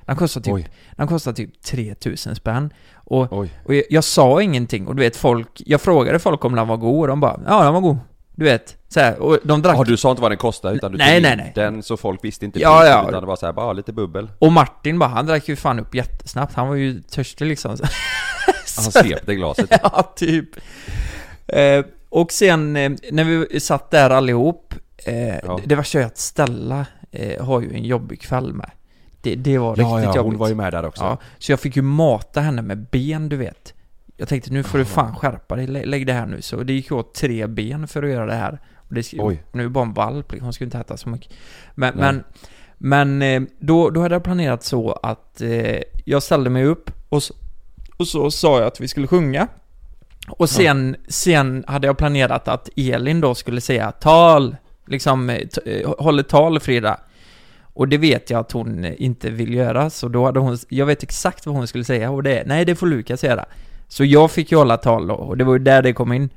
S1: Den kostade typ,
S2: Oj.
S1: den kostade typ 3000 spänn. Och,
S2: Oj.
S1: och jag, jag sa ingenting och du vet folk, jag frågade folk om den var god och de bara ja den var god. Du vet, så här, och de drack
S2: Ja du sa inte vad den kostade utan du
S1: Nej,
S2: tog
S1: nej,
S2: in
S1: nej.
S2: den så folk visste inte
S1: Ja,
S2: priset,
S1: ja.
S2: utan det var såhär bara lite bubbel.
S1: Och Martin bara, han drack ju fan upp jättesnabbt, han var ju törstig liksom.
S2: Han svepte glaset.
S1: ja, typ. Eh, och sen eh, när vi satt där allihop, eh, det, det var så att Stella eh, har ju en jobbig kväll med. Det, det var
S2: Ja,
S1: riktigt
S2: ja, hon
S1: jobbigt.
S2: var ju med där också.
S1: Ja, så jag fick ju mata henne med ben, du vet. Jag tänkte nu får du fan skärpa dig, Lä- lägg det här nu. Så det gick ju åt tre ben för att göra det här. Och det sk-
S2: Oj.
S1: nu är det bara en valp, liksom. hon skulle inte äta så mycket. Men,
S2: Nej.
S1: men, men eh, då, då hade jag planerat så att eh, jag ställde mig upp och så, och så sa jag att vi skulle sjunga. Och sen, sen hade jag planerat att Elin då skulle säga tal, liksom eh, t- eh, håll ett tal Frida. Och Och det vet jag att hon eh, inte vill göra, så då hade hon, jag vet exakt vad hon skulle säga och det är, nej det får Lukas göra. Så jag fick ju hålla tal då, och det var ju där det kom in.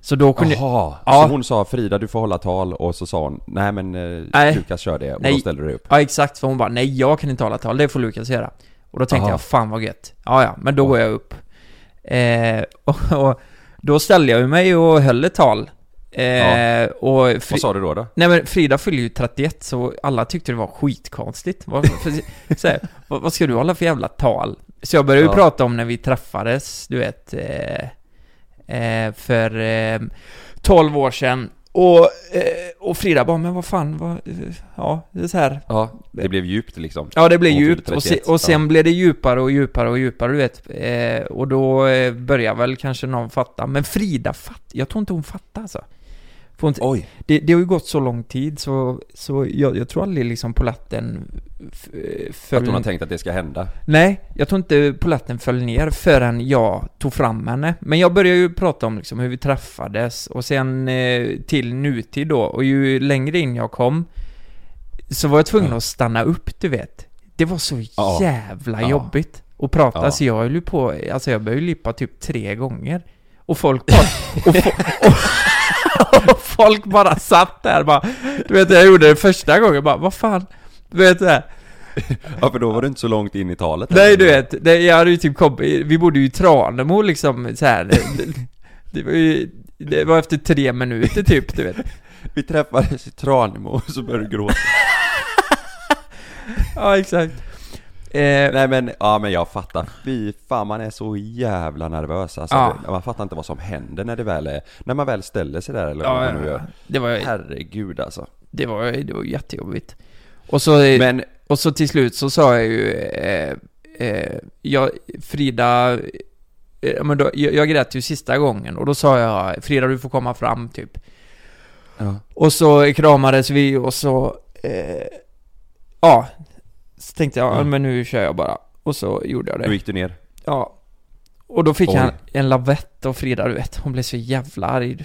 S1: Så då kunde...
S2: Jaha,
S1: Ja.
S2: så hon sa Frida du får hålla tal och så sa hon nej men eh,
S1: Nej.
S2: Lukas kör det och
S1: Nej.
S2: då ställde du upp.
S1: Ja exakt, för hon bara nej jag kan inte hålla tal, det får Lukas göra. Och då tänkte
S2: Aha.
S1: jag fan vad gött. Ja ja, men då går jag upp. Eh, och, och då ställde jag mig och höll ett tal. Eh,
S2: Ja.
S1: och Fri-
S2: Vad sa du då då?
S1: Nej men Frida fyllde ju 31 så alla tyckte det var skitkonstigt. Vad, för, så här, vad, vad ska du hålla för jävla tal? Så jag började ju
S2: Ja.
S1: prata om när vi träffades, du vet, eh, eh, för eh, 12 år sedan. Och, eh, och Frida bara, men vad fan, vad, eh, ja, det är så här,
S2: Ja, det blev djupt liksom.
S1: Ja, det blev
S2: Hon fyllde
S1: djupt och, se,
S2: 31,
S1: och sen
S2: ja.
S1: blev det djupare och djupare och djupare, du vet. Eh, och då eh, börjar väl kanske någon fatta. Men Frida fatt, jag tror inte hon fattar alltså. Får Hon inte,
S2: Oj.
S1: det, det har ju gått så lång tid så, så jag, jag tror aldrig liksom polatten f- eh, föll...
S2: Att hon har tänkt att det ska hända.
S1: Nej, jag tror inte polatten föll ner förrän jag tog fram henne. Men jag började ju prata om liksom hur vi träffades och sen eh, till nutid då. Och ju längre in jag kom så var jag tvungen att stanna upp, du vet. Det var så
S2: Ja.
S1: jävla
S2: Ja.
S1: jobbigt att prata.
S2: Ja.
S1: Så jag höll ju på, alltså jag började ju lippa typ tre gånger. Och folk bara... Och, fo- och, och folk bara satt där bara... Du vet, jag gjorde det första gången bara, vad fan? Du vet det här.
S2: Ja för då var du inte så långt in i talet.
S1: Nej du vet, det, jag hade ju typ komp- vi bodde ju i Tranemo liksom så här. Det, det var ju, det var efter tre minuter typ, du vet.
S2: Vi träffades i Tranemo och så började du gråta.
S1: Ja, exakt. Eh,
S2: Nej men, ja men jag fattar. Fy fan man är så jävla nervös alltså,
S1: Ja.
S2: Man fattar inte vad som händer när det väl är, när man väl ställer sig där eller vad
S1: ja,
S2: man nu
S1: ja,
S2: gör.
S1: det var,
S2: Herregud alltså.
S1: det var, det var jättejobbigt. Och så, eh,
S2: Men,
S1: och så till slut så sa jag ju, eh, eh, jag, Frida, eh, ja, men då, jag, jag grät ju sista gången och då sa jag Frida du får komma fram typ.
S2: ja.
S1: Och så kramades vi och så... Eh, ja. Så tänkte jag, ja,
S2: Mm.
S1: men nu kör jag bara. Och så gjorde jag
S2: då
S1: det.
S2: gick du ner.
S1: Ja. Och då fick
S2: Oj.
S1: han en lavett av Frida, du vet. Hon blev så jävla arg.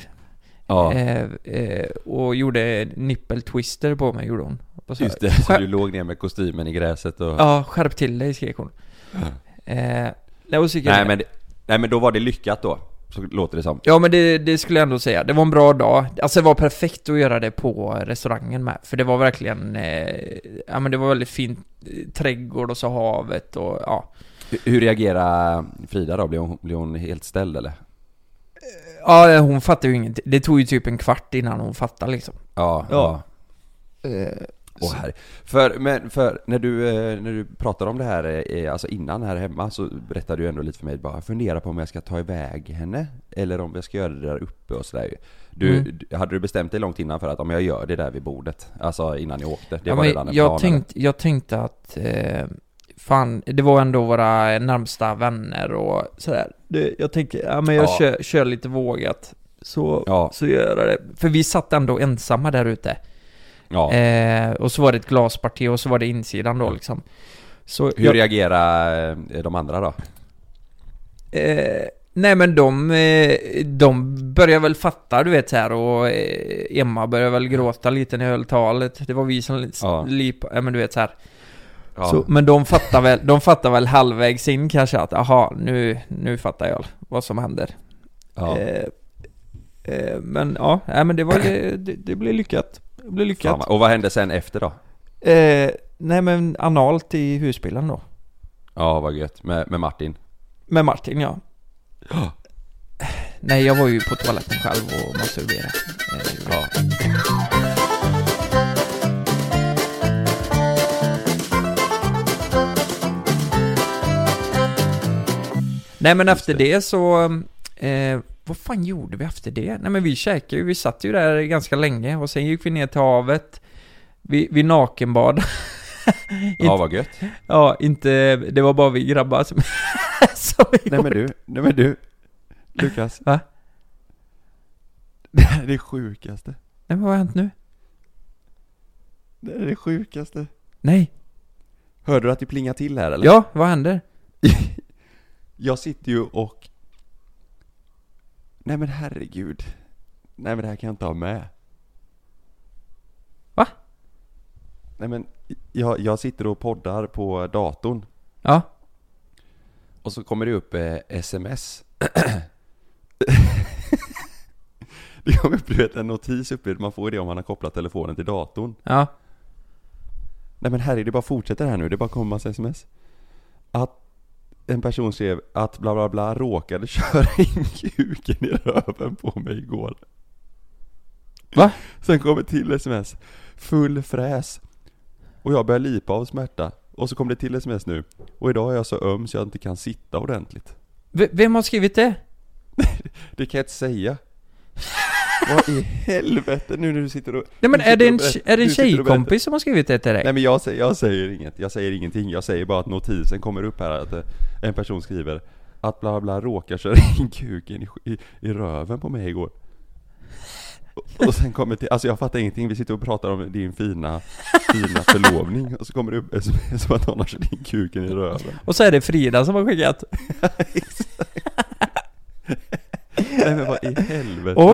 S2: Ja,
S1: Eh, eh, och gjorde nippeltwister på mig, gjorde hon. Och så-
S2: just det. Så
S1: Skär-
S2: du låg ner med kostymen i gräset och...
S1: Ja, skärp till dig, skrek hon. Eh, nej, och så gick jag
S2: nej
S1: ner.
S2: men, det- nej men då var det lyckat då. Så låter det som.
S1: Ja men det, det skulle jag ändå säga, det var en bra dag. Alltså det var perfekt att göra det på restaurangen med, för det var verkligen, eh, ja men det var väldigt fint, eh, trädgård och så havet och ja.
S2: Hur- Hur reagerar Frida då? Blev hon, blev hon helt ställd eller?
S1: Ja hon fattade ju inget, det tog ju typ en kvart innan hon fattade liksom. Eh,
S2: Ja. ja. Åh, herre. För, men för när du, eh, när du pratade om det här, eh, alltså innan här hemma, så berättade du ändå lite för mig bara, jag funderar på om jag ska ta iväg henne, eller om jag ska göra det där uppe och sådär ju. du,
S1: Mm.
S2: du- Hade du bestämt dig långt innan för att om jag gör det där vid bordet, alltså innan ni åkte? Det
S1: ja,
S2: var
S1: men
S2: redan en
S1: jag,
S2: plan,
S1: tänkt, jag tänkte att, eh, fan, det var ändå våra närmsta vänner och sådär. Det, jag tänker, ja men jag
S2: Ja.
S1: kör, kör lite vågat. Så,
S2: Ja.
S1: så gör jag det. För vi satt ändå ensamma där ute.
S2: eller? Ja. Mm.
S1: Eh, och så var det ett glasparti och så var det insidan då liksom. Så
S2: Hur
S1: jag,
S2: reagerar eh, de andra då?
S1: eh, nej men de, eh, de började väl fatta du vet så här och eh, Emma började väl gråta lite när jag höll talet. Det var vi som ja.
S2: Ja.
S1: lip, ja, men du vet så här.
S2: Ja.
S1: Så, men de fattar väl, de fattar väl halvvägs in kanske att aha, nu, nu fattar jag vad som händer.
S2: ja.
S1: Eh, eh, men ja, nej, men det var ju- det, det blev lyckat. Det blev
S2: Fan,
S1: lyckat.
S2: vad- och vad hände sen efter då?
S1: Eh, nej men analt i husbilen då.
S2: Ja, vad gött. Med, med Martin?
S1: Med Martin, ja. Nej, jag var ju på toaletten själv och masturberade. Eh,
S2: Ja.
S1: Nej, men efter det så... Eh, vad fan gjorde vi efter det? Nej, men vi käkade ju. Vi satt ju där ganska länge och sen gick vi ner till havet. Vi, vi nakenbad.
S2: Ja, vad gött.
S1: ja, inte... Det var bara vi grabbar som... som vi
S2: Nej men du, nej men du Lukas
S1: Va?
S2: Det här är det sjukaste
S1: Nej, men vad har hänt nu?
S2: Det här är det sjukaste
S1: Nej.
S2: Hörde du att det plingade till här eller?
S1: Ja, vad händer?
S2: Jag sitter ju och Nej men herregud Nej men det här kan jag inte ha med
S1: Va?
S2: Nej, Nej men, jag, jag sitter och poddar på datorn
S1: Ja.
S2: och så kommer det upp eh, sms. det kommer upp du vet, en notis uppe, man får ju det om man har kopplat telefonen till datorn.
S1: Ja.
S2: Nej men herre, det bara fortsätter här nu, det bara kommer massa sms. Att en person skrev att bla bla bla råkade köra in kuken i röven på mig igår.
S1: Va?
S2: Sen kommer till sms. Full fräs. Och jag börjar lipa av smärta. Och så kom det till sms nu. Och idag är jag så öm så jag inte kan sitta ordentligt.
S1: V- vem har skrivit det?
S2: Det kan jag inte säga. Vad i helvete nu när du sitter och...
S1: Nej men
S2: du
S1: är
S2: sitter
S1: det
S2: och
S1: en,
S2: berättar-
S1: tj- är det en
S2: du sitter och berättar-
S1: tjejkompis som har skrivit det till dig?
S2: Nej men jag säger, jag säger inget, jag säger ingenting. Jag säger bara att notisen kommer upp här att eh, en person skriver att bla bla råkar köra in kuken i, i, i röven på mig igår. Och, och sen kommer till, alltså jag fattar ingenting. Vi sitter och pratar om din fina, fina förlovning och så kommer det upp sms om att någon har kört in kuken i röven.
S1: Och så är det Frida som har skickat.
S2: Nej men vad i helvete.
S1: Och-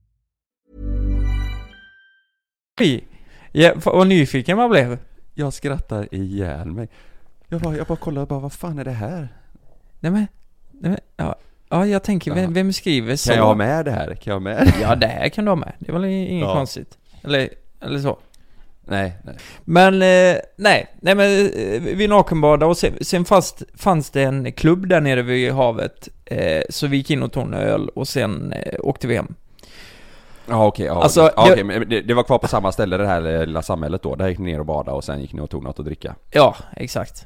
S1: Oj. Ja, fa- vad nyfiken man blev.
S2: Jag skrattar ihjäl mig. Jag bara, jag bara kollar bara, vad fan är det här?
S1: Nej men, nej men ja. ja jag tänker, vem, vem skriver så?
S2: Kan jag ha med det här? Kan jag ha med det?
S1: Ja det här kan du ha med. Det var inget
S2: Ja.
S1: konstigt. Eller, eller så.
S2: Nej, nej.
S1: Men eh, nej, nej men eh, vi nakenbadade och sen, sen fast, fanns det en klubb där nere vid havet. Eh, så vi gick in och tog en öl och sen eh, åkte vi hem.
S2: Ja okej, ja,
S1: Alltså,
S2: ja,
S1: jag-
S2: okej, men det, det var kvar på samma ställe det här lilla samhället då, där gick ni ner och badade och sen gick ni och tog något att dricka.
S1: Ja, exakt.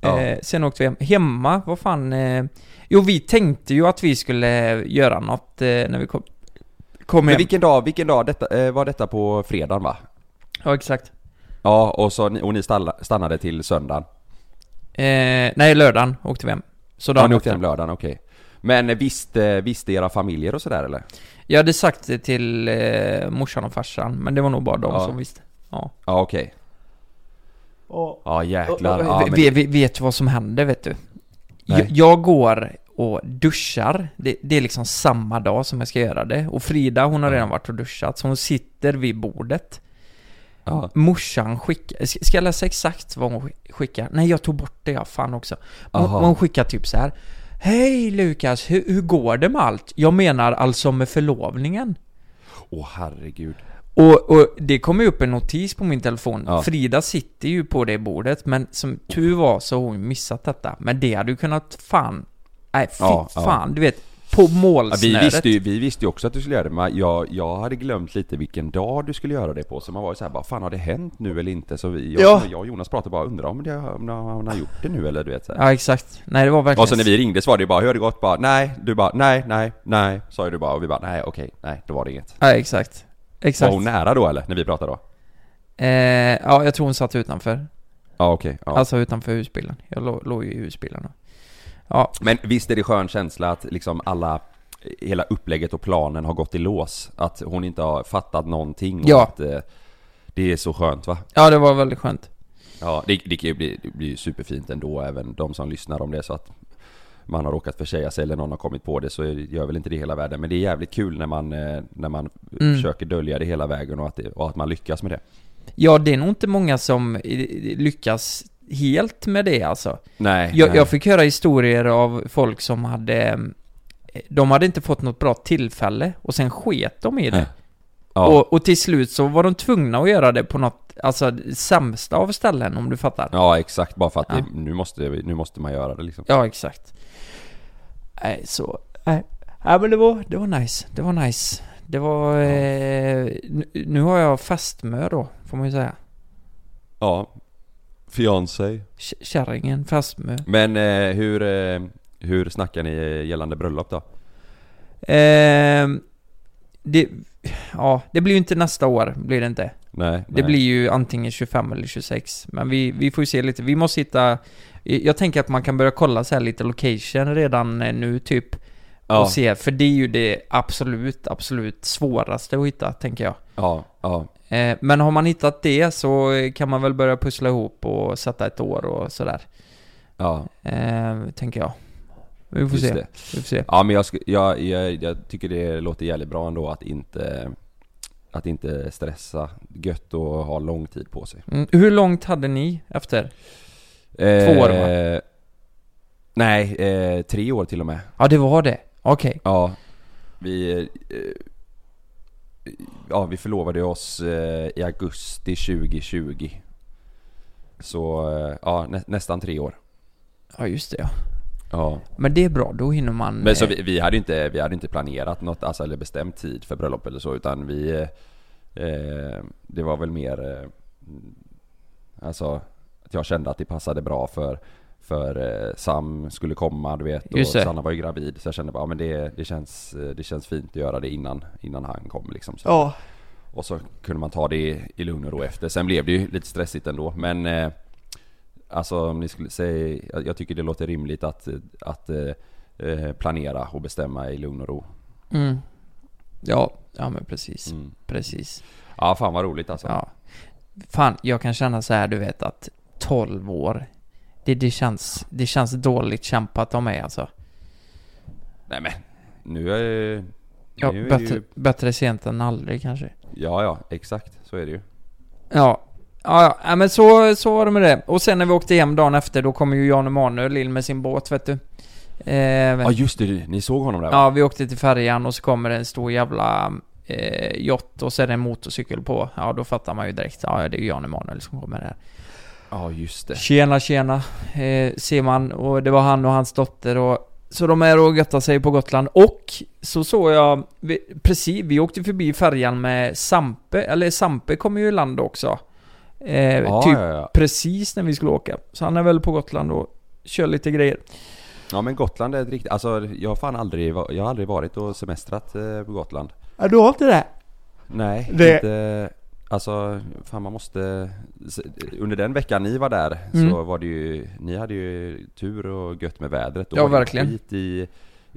S2: Ja.
S1: Eh, sen åkte vi hem. Hemma, vad fan... Eh, jo, vi tänkte ju att vi skulle göra något eh, när vi kom, kom
S2: Men
S1: hem.
S2: vilken dag, vilken dag detta, eh, var detta på fredagen va?
S1: Ja, exakt.
S2: Ja, och, så, ni- och ni stalla- stannade till söndagen?
S1: Eh, nej, lördagen åkte vi hem. Så
S2: Ja,
S1: dagen
S2: ni åkte
S1: efter.
S2: hem lördagen, okej. Men eh, visste, visste era familjer och sådär eller?
S1: Jag hade sagt det till eh, morsan och farsan, men det var nog bara de
S2: Ja.
S1: som visste. Ja.
S2: Ja okej. Ja jäklar. Ja, men,
S1: vi, vi, vet du vad som hände, vet du?
S2: Nej.
S1: Jag, jag går och duschar. Det, det är liksom samma dag som jag ska göra det. Och Frida, hon har redan varit och duschat, så hon sitter vid bordet.
S2: ja.
S1: Morsan skickar, ska ska jag läsa exakt vad hon skick- skickar? Nej jag tog bort det ja, fan också. Hon,
S2: Aha.
S1: hon skickar typ så här. Hej Lukas, hur, hur går det med allt? Jag menar alltså med förlovningen.
S2: Åh herregud.
S1: Och, och det kom ju upp en notis på min telefon.
S2: Ja.
S1: Frida sitter ju på det bordet, men som tur var så har hon missat detta. Men det hade ju kunnat fan... Nej, fy
S2: Ja, ja.
S1: fan. Du vet, på
S2: Ja, vi,
S1: målsnöret.
S2: visste ju, vi visste ju också att du skulle göra det, men jag, jag hade glömt lite vilken dag du skulle göra det på. Så man var ju såhär bara, fan har det hänt nu eller inte? Så vi, jag,
S1: Ja.
S2: jag och Jonas pratade bara, undrar om, det, om han har gjort det nu eller du vet så här.
S1: Ja, exakt. Nej, det var verkligen...
S2: Och sen när vi ringde så var det ju bara, hur har det gått? Bara, nej, du bara, nej, nej, nej, sa ju du bara och vi bara, nej okej, nej, då var det inget.
S1: Ja, exakt.
S2: Var
S1: Exakt.
S2: hon nära då eller? När vi pratade då?
S1: eh, ja, jag tror hon satt utanför.
S2: Ja okej, ja.
S1: Alltså utanför husbilen. Jag lå- låg ju i husbilen då. Ja,
S2: Men visst är det skön känsla att liksom alla, hela upplägget och planen har gått i lås? Att hon inte har fattat någonting och
S1: Ja.
S2: att eh, det är så skönt va?
S1: ja det var väldigt skönt.
S2: Ja, det, det kan ju bli, det blir ju superfint ändå även de som lyssnar om det är så att man har råkat försäga sig eller någon har kommit på det så är- gör väl inte det hela världen. Men det är jävligt kul när man, eh, när man
S1: Mm.
S2: försöker dölja det hela vägen och att, det, och att man lyckas med det.
S1: Ja, det är nog inte många som eh, lyckas helt med det alltså.
S2: Nej.
S1: Jag,
S2: nej.
S1: jag fick höra historier av folk som hade... eh, De hade inte fått något bra tillfälle och sen sket de i det.
S2: Nej. ja.
S1: Och, och till slut så var de tvungna att göra det på något, alltså sämsta av ställen om du fattar.
S2: ja, exakt. Bara för att
S1: Ja.
S2: det, nu, måste, nu måste man göra det liksom.
S1: Ja, exakt. Nej, så... Nej, Nej, men det var, det var nice. Det var nice. Det var... Eh, nu, nu har jag fästmö då, får man ju säga.
S2: Ja. Fiancé.
S1: K- Kärringen, fästmö.
S2: Men eh, hur, eh, hur snackar ni gällande bröllop då?
S1: Ehm, det, ja, det blir ju inte nästa år, blir det inte.
S2: Nej,
S1: Det
S2: nej.
S1: blir ju antingen 25 eller 26. Men vi, vi får ju se lite. Vi måste hitta... Jag tänker att man kan börja kolla så här lite location redan eh, nu typ.
S2: ja,
S1: Och se, för det är ju det absolut, absolut svåraste att hitta, tänker jag.
S2: ja, ja,
S1: Eh, Men har man hittat det så eh, kan man väl börja pussla ihop och sätta ett år och sådär.
S2: ja,
S1: Eh, tänker jag. Vi får
S2: Just
S1: se.
S2: det.
S1: Vi får se.
S2: ja men jag, sk- jag, jag, jag tycker det låter jävligt bra ändå att inte Att inte stressa Gött att ha lång tid på sig
S1: Mm. Hur långt hade ni efter?
S2: eh,
S1: år,
S2: Nej, eh, tre år till och med
S1: Ja, det var det. Okej.
S2: Ja Vi eh, Ja, vi förlovade oss eh, i augusti 2020 Så, eh, ja nä, nästan tre år
S1: Ja, just det ja.
S2: Ja
S1: Men det är bra, då hinner man...
S2: Men så
S1: eh,
S2: vi, vi hade ju inte, vi hade inte planerat något, alltså eller bestämt tid för bröllop eller så utan vi eh, Det var väl mer eh, Alltså att jag kände att det passade bra för för eh, Sam skulle komma du vet och
S1: Just det.
S2: Sanna var ju gravid så jag kände bara ja, men det, det, känns, eh, det känns fint att göra det innan, innan han kom liksom så.
S1: Ja.
S2: Och så kunde man ta det i, i lugn och ro efter. Sen blev det ju lite stressigt ändå men eh, Alltså om ni skulle säga, jag, jag tycker det låter rimligt att, eh, att eh, eh, planera och bestämma i lugn och ro.
S1: Mm. Ja, ja men precis.
S2: Mm.
S1: Precis.
S2: Ja fan vad roligt alltså.
S1: Ja. Fan, jag kan känna så här, du vet att 12 år, det, det, känns, det känns dåligt kämpat av mig alltså.
S2: Nej men, nu är,
S1: Ja,
S2: nu är det
S1: bättre,
S2: ju...
S1: bättre sent än aldrig kanske.
S2: Ja ja, exakt så är det ju.
S1: Ja. Ja, ja. ja, men så, så var det med det. Och sen när vi åkte hem dagen efter, då kom ju Jan Emanuel in med sin båt, vet du. Eh,
S2: Ja just det, ni såg honom där va?
S1: Ja, vi åkte till färjan och så kommer det en stor jävla eh, yacht och så är det en motorcykel på. Ja, då fattar man ju direkt. Ja, ja, det är ju Jan Emanuel som kommer här.
S2: Ja just det.
S1: Tjena, tjena, eh, ser man. Och det var han och hans dotter och... Så de är och göttar sig på Gotland. Och så såg jag... Vi, precis, vi åkte förbi färjan med Sampe. Eller Sampe kommer ju i land också. Eh,
S2: Ja,
S1: typ
S2: ja, ja.
S1: precis när vi skulle åka. Så han är väl på Gotland och kör lite grejer.
S2: ja men Gotland är ett riktigt, alltså jag har fan aldrig, va- jag har aldrig varit och semestrat eh, på Gotland.
S1: Ja, du har inte det?
S2: Nej,
S1: Det-
S2: inte... Alltså, fan man måste... s- Under den veckan ni var där så
S1: Mm.
S2: var det ju... Ni hade ju tur och gött med vädret. och
S1: Ja,
S2: var det
S1: verkligen.
S2: Skit i,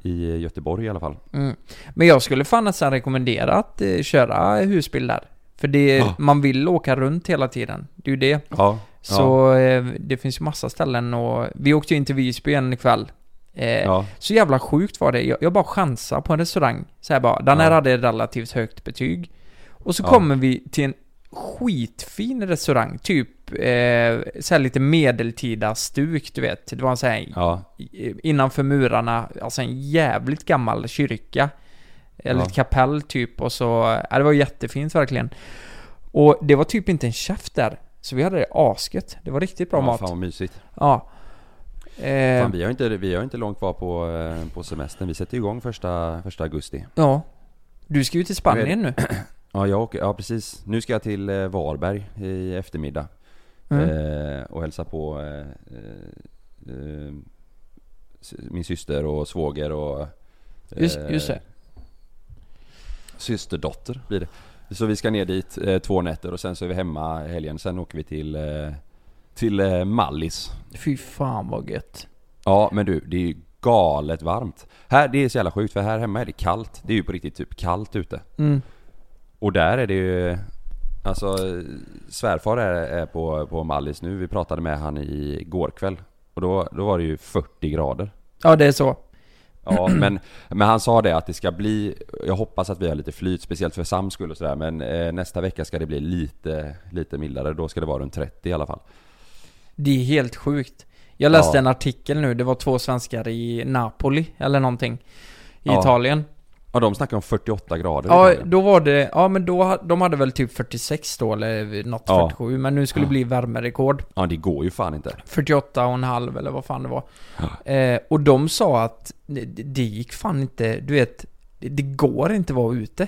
S2: i Göteborg i alla fall.
S1: Mm. Men jag skulle fan nästan rekommendera att eh, köra husbil där. För det,
S2: Ja.
S1: man vill åka runt hela tiden. Det är ju det.
S2: Ja. ja,
S1: Så eh, det finns ju massa ställen och vi åkte ju in till Visby en kväll. Eh,
S2: ja.
S1: Så jävla sjukt var det. Jag, jag bara chansade på en restaurang. Så här bara, den här
S2: Ja.
S1: hade relativt högt betyg. Och så
S2: Ja.
S1: kommer vi till en skitfin restaurang, typ eh, så här lite medeltida stuk, du vet. Det var en så här
S2: Ja.
S1: i- innanför murarna, alltså en jävligt gammal kyrka. Eller
S2: Ja.
S1: ett kapell typ och så, ja, det var jättefint verkligen. Och det var typ inte en chef där. Så vi hade det asket. Det var riktigt bra
S2: ja,
S1: mat.
S2: Fan vad mysigt.
S1: Ja. Eh,
S2: Fan, vi har ju inte, vi har ju inte långt kvar på, eh, på semestern. Vi sätter ju igång första, första augusti.
S1: ja. Du ska ju till Spanien nu.
S2: Ja, jag åker, ja precis. Nu ska jag till eh, Varberg i eftermiddag.
S1: Mm.
S2: Eh, och hälsa på eh, eh, eh, s- min syster och svåger och eh,
S1: Just, just det.
S2: systerdotter blir det. Så vi ska ner dit eh, två nätter och sen så är vi hemma helgen. Sen åker vi till, eh, till eh, Mallis.
S1: Fy fan vad gött.
S2: Ja men du, det är ju galet varmt. Här, det är så jävla sjukt för här hemma är det kallt. Det är ju på riktigt typ kallt ute.
S1: Mm.
S2: Och där är det ju Alltså eh, svärfar är, är på, på Mallis nu, vi pratade med han igår kväll Och då, då var det ju 40 grader
S1: Ja, det är så.
S2: Ja men, men han sa det att det ska bli Jag hoppas att vi har lite flyt, speciellt för Sams skull och sådär Men eh, nästa vecka ska det bli lite, lite mildare, då ska det vara runt 30 i alla fall
S1: Det är helt sjukt. Jag läste
S2: Ja.
S1: en artikel nu, det var två svenskar i Napoli eller någonting. I
S2: Ja.
S1: Italien.
S2: Ja de snackar om 48 grader i
S1: Ja,
S2: Italien.
S1: då var det... Ja, men då, ha- de hade väl typ 46 då, eller något
S2: Ja.
S1: 47, men nu skulle det bli värmerekord.
S2: ja det går ju fan inte
S1: 48,5 eller vad fan det var. Eh, och de sa att det, det gick fan inte, du vet, det, det går inte vara ute.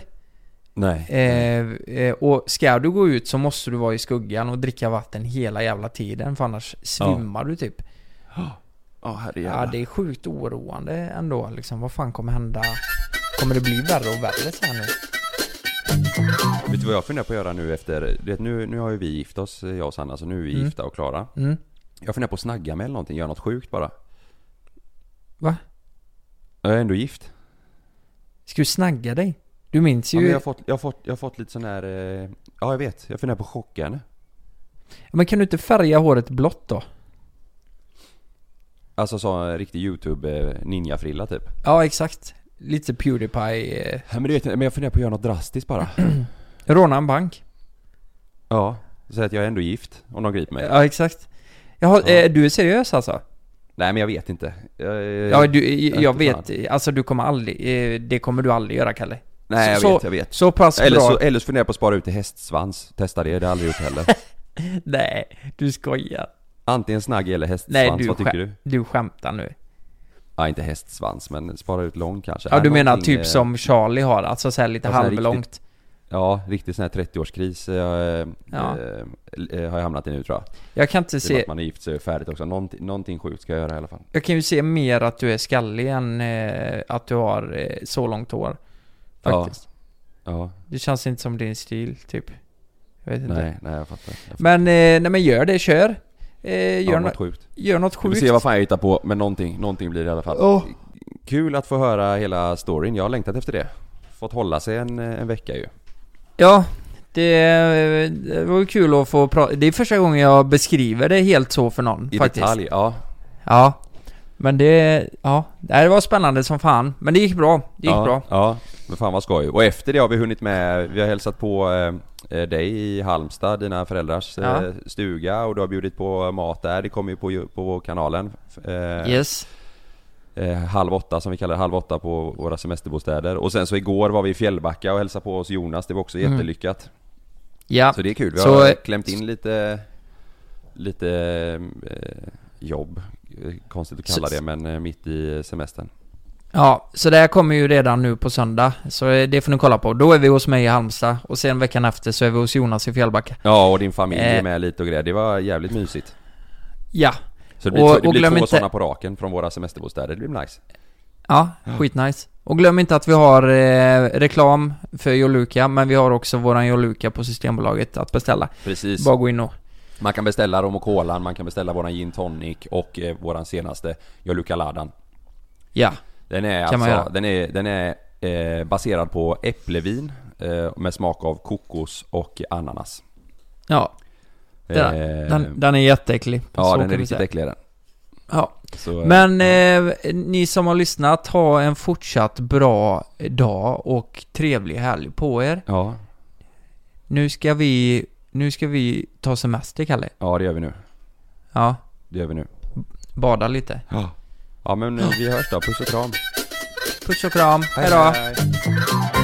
S2: Nej
S1: Eh, eh, och ska du gå ut så måste du vara i skuggan och dricka vatten hela jävla tiden, för annars svimmar du typ.
S2: Ja herrejävlar
S1: Ja, det är sjukt oroande ändå liksom. Vad fan kommer hända? Kommer det bli värre och värre så här nu?
S2: Vet du vad jag funderar på att göra nu efter, du vet, nu, nu har ju vi gift oss, jag och Sanna, så nu är vi gifta och klara. Jag funderar på att snagga mig eller någonting, göra något sjukt bara.
S3: Va?
S2: Jag är ändå gift.
S3: Ska du snagga dig? Du minns
S2: Ja,
S3: ju... Ja,
S2: men jag, har fått, jag, har fått, jag har fått lite sån här, eh, ja jag vet, jag funderar på att chocka henne.
S3: men, kan du inte färga håret blått då?
S2: Alltså så en riktig youtube ninja frilla typ.
S3: Ja, exakt. Lite Pewdiepie... Eh,
S2: Ja, men du vet, men jag funderar på att göra något drastiskt bara.
S3: råna en bank.
S2: ja. Säg att jag är ändå gift, om de griper mig.
S3: Ja, exakt. Jaha, eh, du är seriös alltså?
S2: Nej men jag vet inte. Jag, eh,
S3: Ja, du, eh, jag,
S2: jag vet
S3: vet. Alltså du kommer aldrig... Eh, det kommer du aldrig göra, Kalle.
S2: Nej, jag
S3: så,
S2: vet, jag vet.
S3: Så pass
S2: eller,
S3: bra...
S2: så, eller så funderar jag på att spara ut till hästsvans. Testa det, det har jag aldrig gjort heller.
S3: Nej, du skojar.
S2: Antingen snagg eller hästsvans,
S3: Nej, du,
S2: vad tycker du?
S3: skäm- du skämtar nu.
S2: Ja, inte hästsvans men spara ut lång kanske.
S3: Ja, du menar
S2: någonting,
S3: typ
S2: eh,
S3: som Charlie har, alltså så här lite
S2: ja, så här
S3: halvlångt.
S2: Ja, riktigt sån här 30-årskris eh,
S3: Ja.
S2: eh, eh, har jag hamnat i nu tror jag.
S3: Jag kan inte
S2: I och med
S3: se...
S2: att man är gift så är det färdigt också. Någonting, någonting sjukt ska jag göra i alla fall.
S3: Jag kan ju se mer att du är skallig än eh, att du har eh, så långt hår.
S2: Ja.
S3: Faktiskt.
S2: Ja,
S3: Det känns inte som din stil, typ. Jag vet inte.
S2: nej, nej jag fattar. Jag fattar.
S3: Men, eh, nej men gör det, kör. Eh,
S2: ja,
S3: gör,
S2: något
S3: något
S2: sjukt.
S3: gör något
S2: Vi får
S3: sjukt.
S2: se vad fan jag hittar på, men någonting, någonting blir det i alla fall.
S3: Åh.
S2: Kul att få höra hela storyn, jag har längtat efter det. Fått hålla sig en, en vecka ju.
S3: Ja, det, eh, det var ju kul att få prata. Det är första gången jag beskriver det helt så för någon,
S2: I
S3: faktiskt.
S2: detalj, ja.
S3: Ja. Men det, ja. Nej, Det var spännande som fan. Men det gick bra. Det gick
S2: ja,
S3: bra.
S2: Ja, men fan vad skoj. Och efter det har vi hunnit med, vi har hälsat på eh, eh, dig i Halmstad, dina föräldrars
S3: Ja.
S2: eh, stuga och du har bjudit på mat där. Det kommer ju på, på kanalen. Eh,
S3: Yes.
S2: eh, halv åtta som vi kallar det, halv åtta på våra semesterbostäder. Och sen så igår var vi i Fjällbacka och hälsade på oss Jonas, det var också jättelyckat.
S3: Ja.
S2: Så det är kul, vi
S3: Mm. Så,
S2: har
S3: eh,
S2: klämt in lite, lite eh, jobb. Eh, Konstigt att kalla
S3: Så-
S2: det men eh, mitt i semestern.
S3: Ja, så det här kommer ju redan nu på söndag. Så eh, det får ni kolla på. Då är vi hos mig i Halmstad och sen veckan efter så är vi hos Jonas i Fjällbacka.
S2: Ja och din familj är
S3: Eh.
S2: med lite och grejer, det var jävligt mysigt.
S3: Ja.
S2: Så det blir,
S3: Och-
S2: två, det
S3: och
S2: blir
S3: glöm
S2: två
S3: inte-
S2: sådana på raken från våra semesterbostäder, det blir nice.
S3: Ja, skitnice. Och glöm inte att vi har eh, reklam för Joluka, men vi har också våran Joluka på Systembolaget att beställa.
S2: Precis.
S3: Bara gå in och...
S2: Man kan beställa rom och kolan, man kan beställa våran gin tonic och eh, våran senaste Joluca Ladan.
S3: Ja.
S2: Den är
S3: Kan man
S2: alltså,
S3: göra.
S2: den är, den är eh, baserad på äpplevin eh, med smak av kokos och ananas.
S3: Ja. Den,
S2: Eh,
S3: den, den är jätteäcklig.
S2: ja,
S3: Så
S2: den
S3: kan
S2: är
S3: vi
S2: riktigt
S3: säga.
S2: äcklig den.
S3: Ja.
S2: Så, eh,
S3: Men eh, ni som har lyssnat, ha en fortsatt bra dag och trevlig helg på er.
S2: Ja,
S3: Nu ska vi, nu ska vi ta semester, Kalle.
S2: ja det gör vi nu.
S3: Ja,
S2: Det gör vi nu.
S3: bada lite.
S2: Ja men eh, vi hörs då, puss och kram.
S3: Puss och kram, hejdå!
S2: Hej.